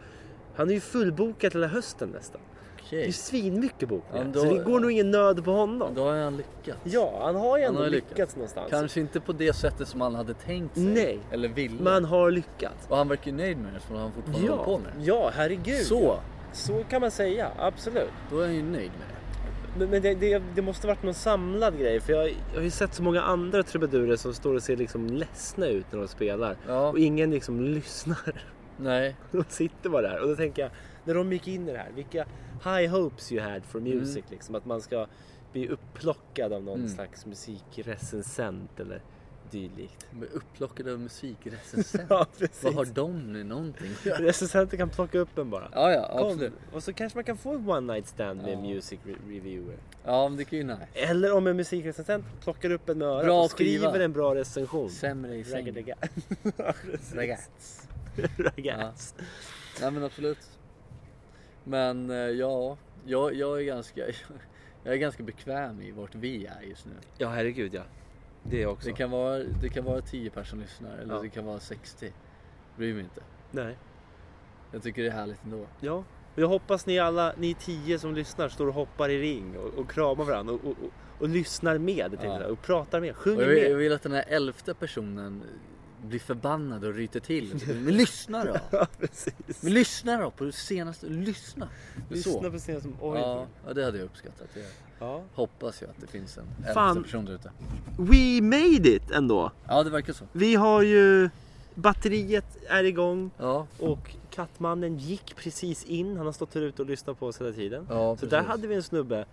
B: Han är ju fullbokad hela hösten nästan. Det är
A: Okej.
B: ju svinmycket bokningar.
A: Ja, men då-
B: så det går nog ingen nöd på honom.
A: Då har han lyckats.
B: ja, han har ju
A: Han
B: ändå
A: har ju
B: lyckats,
A: lyckats.
B: någonstans.
A: Kanske inte på det sättet som han hade tänkt sig.
B: Nej.
A: Eller ville.
B: Men han har lyckats.
A: Och han verkar ju nöjd med det som han fortfarande håller på
B: Ja,
A: med.
B: ja, herregud.
A: Så,
B: Så kan man säga, absolut.
A: då är han ju nöjd med det.
B: Men, men det, det, det måste varit någon samlad grej för jag, jag har ju sett så många andra trubadurer som står och ser liksom ledsna ut när de spelar.
A: Ja,
B: Och ingen liksom lyssnar.
A: nej.
B: De sitter bara där. Och då tänker jag, när de gick in i det här, vilka high hopes you had for music. Liksom, att man ska bli upplockad av någon
A: Mm.
B: slags musikrecensent eller dylikt.
A: De är upplockade av musikrecensent.
B: Ja, precis.
A: Vad har de med någonting att göra?
B: Recensenter kan plocka upp en bara.
A: Ja, ja,
B: Kom.
A: absolut.
B: Och så kanske man kan få en one night stand med
A: Ja.
B: en music re- reviewer.
A: Ja, men det kan ju nice.
B: Eller om en musikrecensent plockar upp en med örat
A: Bra
B: och skriver
A: skiva.
B: en bra recension.
A: Sämre i säng.
B: Raggardigga.
A: Ragats.
B: Ragats.
A: Nej men absolut. Men eh, ja, jag, jag är ganska... Jag är ganska bekväm i vart vi är just nu.
B: Ja, herregud ja. Det är jag också.
A: Det kan vara, det kan vara 10 personer lyssnar eller
B: Ja.
A: det kan vara 60. Bryr mig inte.
B: Nej.
A: Jag tycker det är härligt ändå.
B: Ja. Och Jag hoppas ni alla, ni tio som lyssnar, står och hoppar i ring och, och kramar varandra och, och, och, och lyssnar med. tänkte jag. Och pratar med,
A: Och jag,
B: sjunger
A: vill, jag
B: med.
A: vill att den här elfte personen blir förbannad och ryter till. Typ. Men lyssna då!
B: Ja, precis.
A: Men lyssna då på det senaste. Lyssna! Det är så.
B: Lyssna på scenen som oj.
A: ja, ja, det hade jag uppskattat. Det
B: Ja.
A: hoppas jag att det finns en
B: Fan.
A: elfte person där ute.
B: We made it ändå.
A: Ja, det verkar så.
B: Vi har ju, batteriet är igång.
A: Ja,
B: Och kattmannen gick precis in. Han har stått här ute och lyssnat på oss hela tiden.
A: ja
B: så där hade vi en snubbe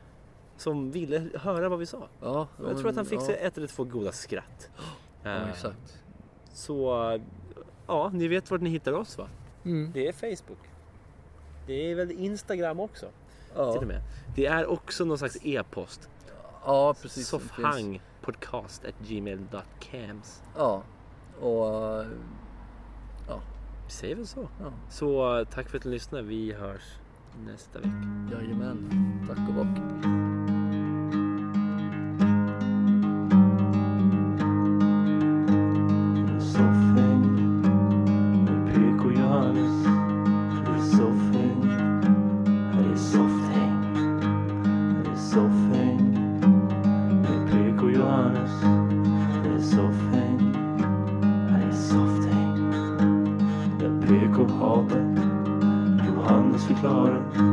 B: som ville höra vad vi sa.
A: Ja,
B: jag tror att han fick sig
A: ja,
B: ett eller två goda skratt.
A: ja,
B: Eh,
A: exakt.
B: Så ja, ni vet vart ni hittar oss va?
A: Mm.
B: Det är Facebook. Det är väl Instagram också? Till och
A: Ja.
B: med. Det är också någon slags e-post.
A: ja, precis. det finns-
B: Soffhangpodcast.gmail.cams
A: Ja, och eh,
B: Vi säger väl så.
A: ja,
B: Så eh, tack för att ni lyssnade. Vi hörs nästa vecka.
A: jajamän. Tack och bock.
C: Soffhäng med PK Johannes. Det är soffhäng. Det är softhäng. Det är soffhäng med PK Johannes. Det är soffhäng. Det är softhäng. Där PK hatar. Johannes förklarar.